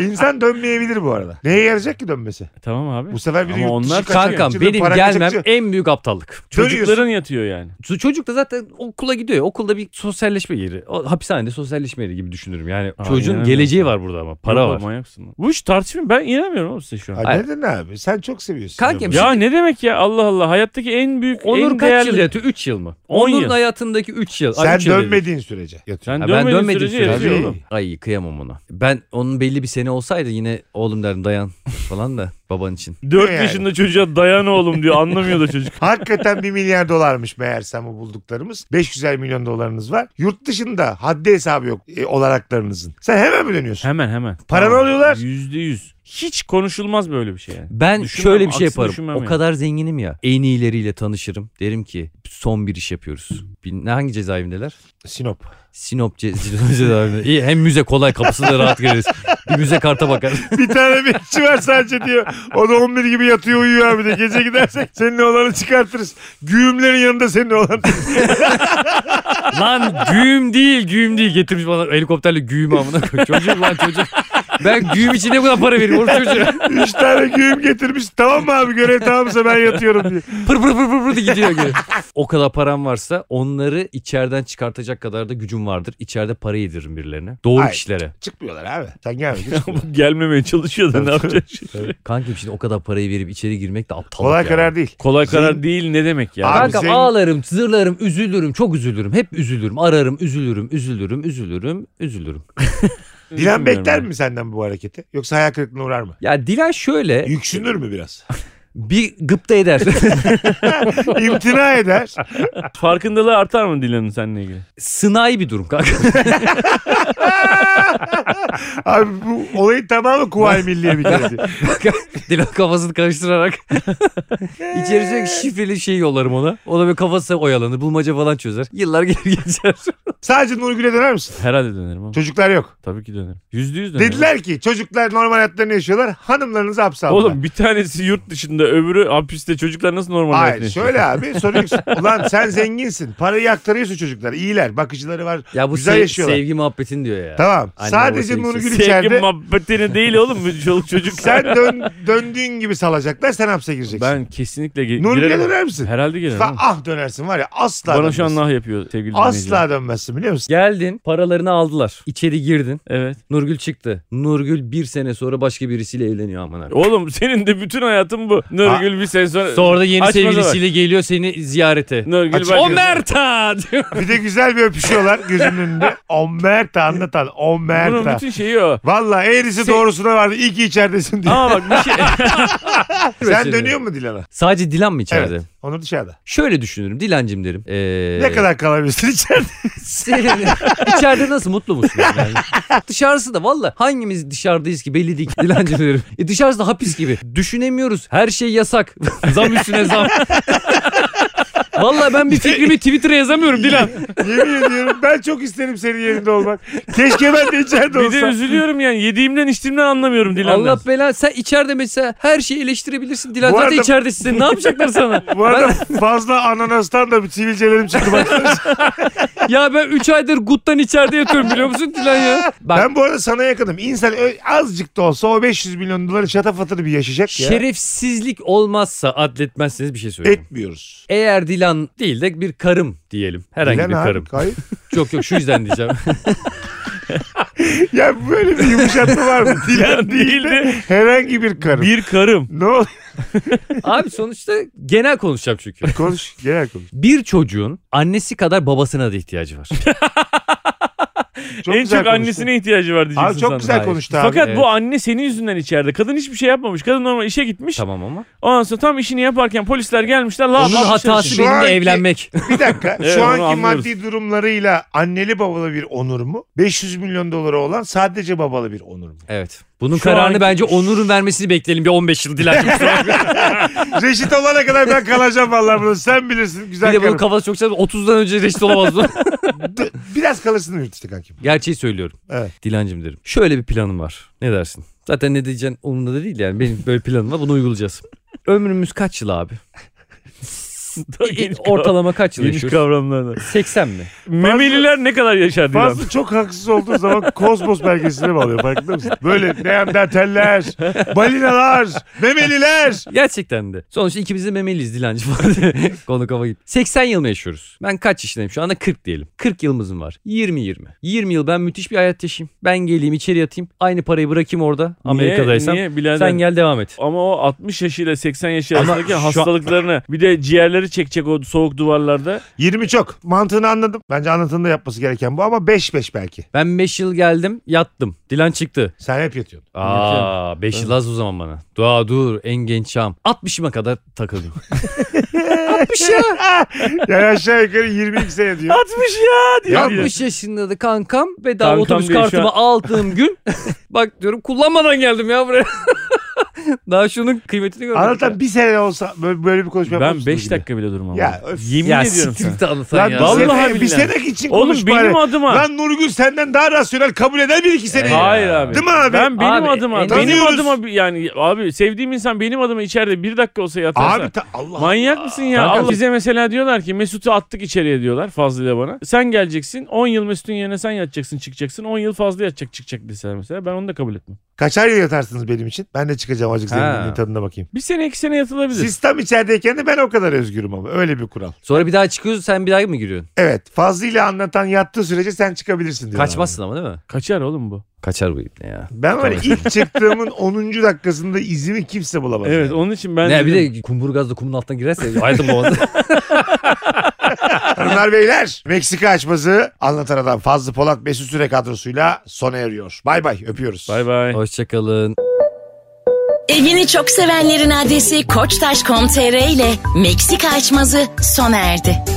S2: İnsan dönmeyebilir bu arada. Neye yarayacak ki dönmesi?
S3: tamam abi.
S2: Bu sefer bir de
S3: Ama
S2: yurt dışı
S3: onlar-
S2: kaçak,
S4: Kankam
S2: içinde
S4: benim
S2: para şey
S4: gelmem
S2: kaçakçı.
S4: en büyük aptallık.
S3: Çocukların yatıyor yani.
S4: Ç- Çocuk da zaten okula gidiyor. Okulda bir sosyalleşme yeri. O, hapishanede sosyalleşme yeri gibi düşünürüm. Yani
S3: Aynen
S4: çocuğun
S3: öyle.
S4: geleceği var burada ama. Para
S3: Yok
S4: var.
S3: oğlum, Manyaksın. lan. Bu iş tartışmıyor. Ben inanmıyorum oğlum size şu an.
S2: Ha, neden abi? Sen çok seviyorsun.
S4: Kankim,
S2: Yok,
S3: Ya ne demek ya Allah Allah. Hayattaki en büyük,
S4: Onur
S3: en
S4: kaç
S3: değerli.
S4: yıl yatıyor? 3 yıl mı?
S3: On
S4: Onur'un
S3: yıl.
S4: hayatındaki 3 yıl. Ay,
S2: Sen
S4: üç yıl dedi.
S2: dönmediğin sürece yatıyor.
S3: Sen
S4: Ha,
S3: dönmediğin
S4: ben dönmedim
S3: sürece
S4: sürece.
S3: yazıyor
S2: yazıyor
S3: oğlum.
S4: Ay kıyamam ona. Ben onun belli bir sene olsaydı yine oğlum derdim dayan [LAUGHS] falan da baban için.
S3: 4
S2: Yani.
S3: yaşında çocuğa dayan oğlum diyor. Anlamıyor da
S4: [LAUGHS]
S3: çocuk.
S2: Hakikaten 1 milyar dolarmış meğersem bu bulduklarımız. 500 milyon dolarınız var. Yurt dışında haddi hesabı yok e, olaraklarınızın. Sen hemen mi dönüyorsun?
S3: Hemen hemen.
S2: Paranı
S3: Tamam.
S2: alıyorlar.
S3: Yüzde yüz. Hiç konuşulmaz böyle bir şey yani.
S4: Ben
S3: Düşünmem,
S4: şöyle bir şey
S3: aksini
S4: yaparım.
S3: düşünmem
S4: O
S3: yani.
S4: kadar zenginim ya. En iyileriyle tanışırım. Derim ki son bir iş yapıyoruz. Bir- Ne hangi cezaevindeler?
S2: Sinop. [LAUGHS]
S4: Sinop ce- [LAUGHS] Sinop cezaevinde. İyi hem müze kolay kapısında rahat gireriz. Bir müze karta bakar.
S2: Bir tane bekçi var sadece diyor. O da 11 gibi yatıyor uyuyor abi de. Gece gidersek senin olanı çıkartırız. Güğümlerin yanında senin olan.
S4: lan güğüm değil güğüm değil getirmiş bana helikopterle güğüm amına koy. Çocuk lan çocuk. Ben güğüm için ne kadar para veririm oğlum çocuğa?
S2: [LAUGHS] Üç tane güğüm getirmiş. Tamam mı abi görev tamamsa ben yatıyorum diye.
S4: Pır pır pır pır pır diye gidiyor geri. O kadar param varsa onları içeriden çıkartacak kadar da gücüm vardır. İçeride para yediririm birilerine. Doğru
S2: Ay.
S4: kişilere.
S2: Çıkmıyorlar abi. Sen gelme. çıkmıyorlar.
S3: Bu [LAUGHS] Gelmemeye çalışıyor da ne yapacak?
S4: Kankim şimdi o kadar parayı verip içeri girmek de aptallık
S2: Kolay
S4: ya.
S2: karar değil.
S3: Kolay karar değil ne demek ya?
S2: Abi
S4: Kankam
S2: zengin-
S4: ağlarım, zırlarım, üzülürüm, çok üzülürüm. Hep üzülürüm, ararım, üzülürüm, üzülürüm, üzülürüm, üzülürüm.
S2: Dilan
S3: Bilmiyorum
S2: bekler
S3: ben.
S2: mi senden bu hareketi? Yoksa hayal kırıklığına uğrar mı?
S4: Ya Dilan şöyle
S2: Yüksünür mü biraz? [LAUGHS]
S4: bir gıpta eder. [LAUGHS]
S2: İmtina eder.
S3: Farkındalığı artar mı Dilan'ın seninle ilgili?
S4: Sınai bir durum kanka.
S2: Abi bu olayın tamamı Kuvayi Milliye bir
S3: [LAUGHS]
S2: kere.
S4: Dilan kafasını karıştırarak
S2: [LAUGHS]
S4: içerisine şifreli şey yollarım ona. O da böyle kafası oyalanır, bulmaca falan çözer. Yıllar gelir geçer.
S2: Sadece Nurgül'e döner misin?
S3: Herhalde dönerim ama.
S2: Çocuklar yok.
S3: Tabii ki dönerim. Yüzde yüz dönerim.
S2: Dediler ki çocuklar normal hayatlarını yaşıyorlar. Hanımlarınızı hapse aldılar.
S3: Oğlum bir tanesi yurt dışında öbürü hapiste çocuklar nasıl normal
S2: Hayır
S3: hayatını
S2: şöyle abi
S3: [LAUGHS]
S2: soruyorsun. Ulan sen zenginsin. Parayı aktarıyorsun çocuklar. İyiler. Bakıcıları var.
S4: Ya bu
S2: Güzel
S4: sev-
S2: yaşıyorlar.
S4: sevgi muhabbetini diyor ya.
S2: Tamam.
S4: Anne,
S2: Sadece
S4: babası
S2: Nurgül
S3: yaşıyor? Sevgi
S2: içeride.
S3: muhabbetini değil oğlum
S2: [LAUGHS]
S3: bu çoluk çocuk.
S2: sen dön, döndüğün gibi salacaklar. Sen hapse gireceksin.
S3: Ben kesinlikle ge-
S2: Nurgül'e
S3: girerim.
S2: döner misin?
S3: Herhalde girerim.
S2: Fa-
S3: oğlum.
S2: ah dönersin var ya asla
S3: Bana
S2: dönmezsin.
S3: şu an nah yapıyor sevgili dinleyiciler.
S2: Asla dönmezsin biliyor musun?
S4: Geldin, paralarını aldılar. İçeri girdin.
S3: Evet.
S4: Nurgül çıktı. Nurgül bir sene sonra başka birisiyle evleniyor aman abi.
S3: Oğlum senin de bütün hayatın bu. Nurgül bir sene sonra...
S4: Sonra da yeni
S3: Açmaz
S4: sevgilisiyle geliyor seni ziyarete. [LAUGHS]
S3: Nurgül
S4: Aç-
S3: başka-
S4: O Merta diyor.
S2: Bir de güzel bir öpüşüyorlar gözümün önünde.
S3: [LAUGHS]
S2: Omerta anlatan.
S3: Bunun
S2: Omerta.
S3: bütün şeyi o.
S2: Valla eğrisi
S3: Se-
S2: doğrusuna vardı. İyi ki içeridesin diye.
S3: Ama bak
S2: [LAUGHS]
S3: bir şey...
S2: Sen dönüyor mu Dilan'a?
S4: Sadece Dilan mı içeride?
S2: Evet. Onur dışarıda.
S4: Şöyle düşünürüm. Dilancım derim. Ee,
S2: Ne kadar kalabilirsin [LAUGHS] içeride?
S4: [LAUGHS] senin- içeride nasıl mutlu musun? Yani? Dışarısı da valla hangimiz dışarıdayız ki belli değil ki Dilancım derim. E dışarısı da hapis gibi. Düşünemiyoruz. Her şey yasak. [LAUGHS] zam üstüne zam. [LAUGHS] Valla ben bir fikrimi Twitter'a
S2: [LAUGHS]
S4: yazamıyorum Dilan.
S2: Yemin ediyorum ben çok isterim senin yerinde olmak. Keşke ben de içeride
S3: Bir de
S2: olsam.
S3: üzülüyorum yani. Yediğimden içtiğimden anlamıyorum Dilan'dan.
S4: Allah belanı sen içeride mesela her şeyi eleştirebilirsin. Dilan
S2: Bu
S4: zaten
S2: arada-
S4: içeridesin. Sen Ne yapacaklar sana?
S2: Bu arada fazla ananastan da bir sivilcelerim çıktı baksana.
S4: ya ben 3 aydır Gut'tan içeride yatıyorum biliyor musun Dilan ya? Bak
S2: Ben bu arada sana yakınım. İnsan ö- azıcık da olsa o 500 milyon doların şatafatını bir yaşayacak ya.
S4: şerefsizlik olmazsa adletmezsiniz bir şey söyleyeyim.
S2: Etmiyoruz.
S4: Eğer Dilan değil de bir karım diyelim. Herhangi
S2: Dilan
S4: bir
S2: abi,
S4: karım.
S2: kayıp.
S4: Yok yok şu yüzden diyeceğim.
S2: Ya böyle bir yumuşatma var mı? Dilan değil de
S3: değildi.
S2: herhangi bir karım.
S3: Bir karım.
S2: Ne oluyor?
S4: Abi sonuçta genel konuşacağım çünkü.
S2: Konuş. Genel konuş.
S4: Bir çocuğun annesi kadar babasına da ihtiyacı var.
S2: Çok
S3: en
S2: güzel
S3: çok
S2: konuştun.
S3: annesine ihtiyacı var diyeceksin
S2: Abi çok
S3: sandım.
S2: güzel
S4: Hayır.
S2: konuştu abi.
S3: Fakat
S4: evet.
S3: bu anne senin yüzünden içeride. Kadın hiçbir şey yapmamış. Kadın normal işe gitmiş.
S4: tamam ama.
S3: Ondan sonra tam işini yaparken polisler gelmişler. La [LAUGHS]
S4: Onun hatası
S2: Şu
S4: benimle
S2: anki-
S4: evlenmek.
S2: Bir dakika.
S3: Evet,
S2: Şu
S3: onu
S2: anki
S3: anlıyoruz.
S2: maddi durumlarıyla anneli babalı bir onur mu? 500 milyon doları olan sadece babalı bir onur
S3: [LAUGHS]
S2: mu?
S4: Evet. Bunun
S3: Şu
S4: kararını
S3: anki-
S4: bence Onur'un vermesini bekleyelim bir 15 yıl Dilan'cığım.
S2: Reşit olana kadar ben kalacağım vallahi bunu. Sen bilirsin. Güzel
S4: Bir de bunun
S2: karım.
S4: kafası çok güzel. 30'dan önce reşit olamaz bu.
S2: D- Biraz kalırsın yurt dışı kankim.
S4: [LAUGHS] Gerçeği söylüyorum.
S2: Evet.
S4: Dilancım derim. Şöyle bir planım var. Ne dersin? Zaten ne diyeceksin umurumda da değil yani. Benim böyle planım var. Bunu uygulayacağız. Ömrümüz kaç yıl abi? E, Ortalama kaç yıl
S3: Geniş
S4: yaşıyoruz?
S3: kavramlardan.
S4: 80 mi?
S3: Memeliler ne kadar yaşar Dilan?
S2: Fazla çok haksız olduğu zaman Kozmos belgesine bağlıyor farkında mısın? Böyle neandertaller, balinalar, memeliler.
S4: Gerçekten de. Sonuçta ikimiz de memeliyiz Dilancı falan. [LAUGHS] Konu kafa gibi. 80 yıl mı yaşıyoruz? Ben kaç yaşındayım şu anda? 40 diyelim. 40 yılımızın var. 20-20. 20 yıl ben müthiş bir hayat yaşayayım. Ben geleyim içeri yatayım. Aynı parayı bırakayım orada. Amerika'daysam.
S3: Niye? Niye? Birader.
S4: Sen gel devam et.
S3: Ama o 60 yaşıyla 80 yaşı arasındaki
S4: şu an-
S3: hastalıklarını bir de ciğerleri çekecek o soğuk duvarlarda.
S2: 20 çok. Mantığını anladım. Bence anlatanın da yapması gereken bu ama 5-5 belki.
S4: Ben 5 yıl geldim yattım. Dilan çıktı.
S2: Sen hep
S3: [LAUGHS]
S2: yatıyorsun.
S4: Aa 5 yıl az o zaman bana. Dua dur en genç çağım. 60'ıma kadar [LAUGHS] takıldım.
S2: Yani Ah! aşağı yukarı 22 sene diyor.
S3: 60 ya diye.
S4: 60 yaşında da kankam bedava
S3: Kankam
S4: otobüs
S3: diye şu
S4: [LAUGHS] kartımı aldığım gün bak diyorum kullanmadan geldim ya buraya. [LAUGHS] Daha şunun kıymetini görmedim.
S2: Anlatan bir sene olsa böyle, böyle bir konuşma
S3: Ben
S2: yapmamışsınız
S3: 5
S2: bile.
S3: dakika bile durmam.
S2: Ya,
S3: Ya,
S2: öf.
S3: Yemin
S4: ya
S3: ediyorum
S4: siktir
S3: sana.
S4: git anlatan
S2: Lan
S4: ya.
S3: Vallahi
S2: bir sene, bir
S3: billahi.
S2: sene için
S3: Oğlum
S2: konuş
S3: benim
S2: bari.
S3: adıma.
S2: Lan Nurgül senden daha rasyonel kabul eder miydik ki seni?
S3: Hayır abi.
S2: Değil mi abi?
S3: Ben benim
S4: Abi,
S3: adıma,
S4: en-
S3: benim
S2: Tanıyoruz.
S3: adıma bir- yani abi sevdiğim insan benim adıma içeride bir dakika olsa yatarsa.
S2: Abi ta- Allah.
S3: Manyak mısın ya?
S4: Kanka-
S3: Allah- Bize mesela diyorlar ki Mesut'u attık içeriye diyorlar Fazlı ile bana. Sen geleceksin 10 yıl Mesut'un yerine sen yatacaksın çıkacaksın 10 yıl Fazlı yatacak çıkacak deseler mesela ben onu da kabul etmem.
S2: Kaçar yıl yatarsınız benim için? Ben de çıkacağım azıcık
S4: Ha.
S2: zenginliğin tadına bakayım.
S3: Bir sene iki sene yatılabilir.
S2: Siz tam içerideyken de ben o kadar özgürüm ama. Öyle bir kural.
S4: Sonra bir daha çıkıyoruz sen bir daha mı giriyorsun?
S2: Evet. Fazlıyla anlatan yattığı sürece sen çıkabilirsin diyorlar.
S4: Kaçmazsın ama değil mi?
S3: Kaçar oğlum bu.
S4: Kaçar bu ibne ya.
S2: Ben var ya ilk çıktığımın 10. dakikasında izimi kimse bulamaz.
S3: Evet
S2: yani.
S3: onun için ben
S4: ne bir
S3: dedim,
S4: de kumburgazda kumun altına girerse hayatım boğazı. [LAUGHS]
S2: Hanımlar beyler Meksika açması anlatan adam Fazlı Polat Mesut Süre kadrosuyla sona eriyor. Bay bay öpüyoruz.
S3: Bay bay.
S4: Hoşçakalın.
S1: Evini çok sevenlerin adresi koçtaş.com.tr ile Meksika açmazı sona erdi.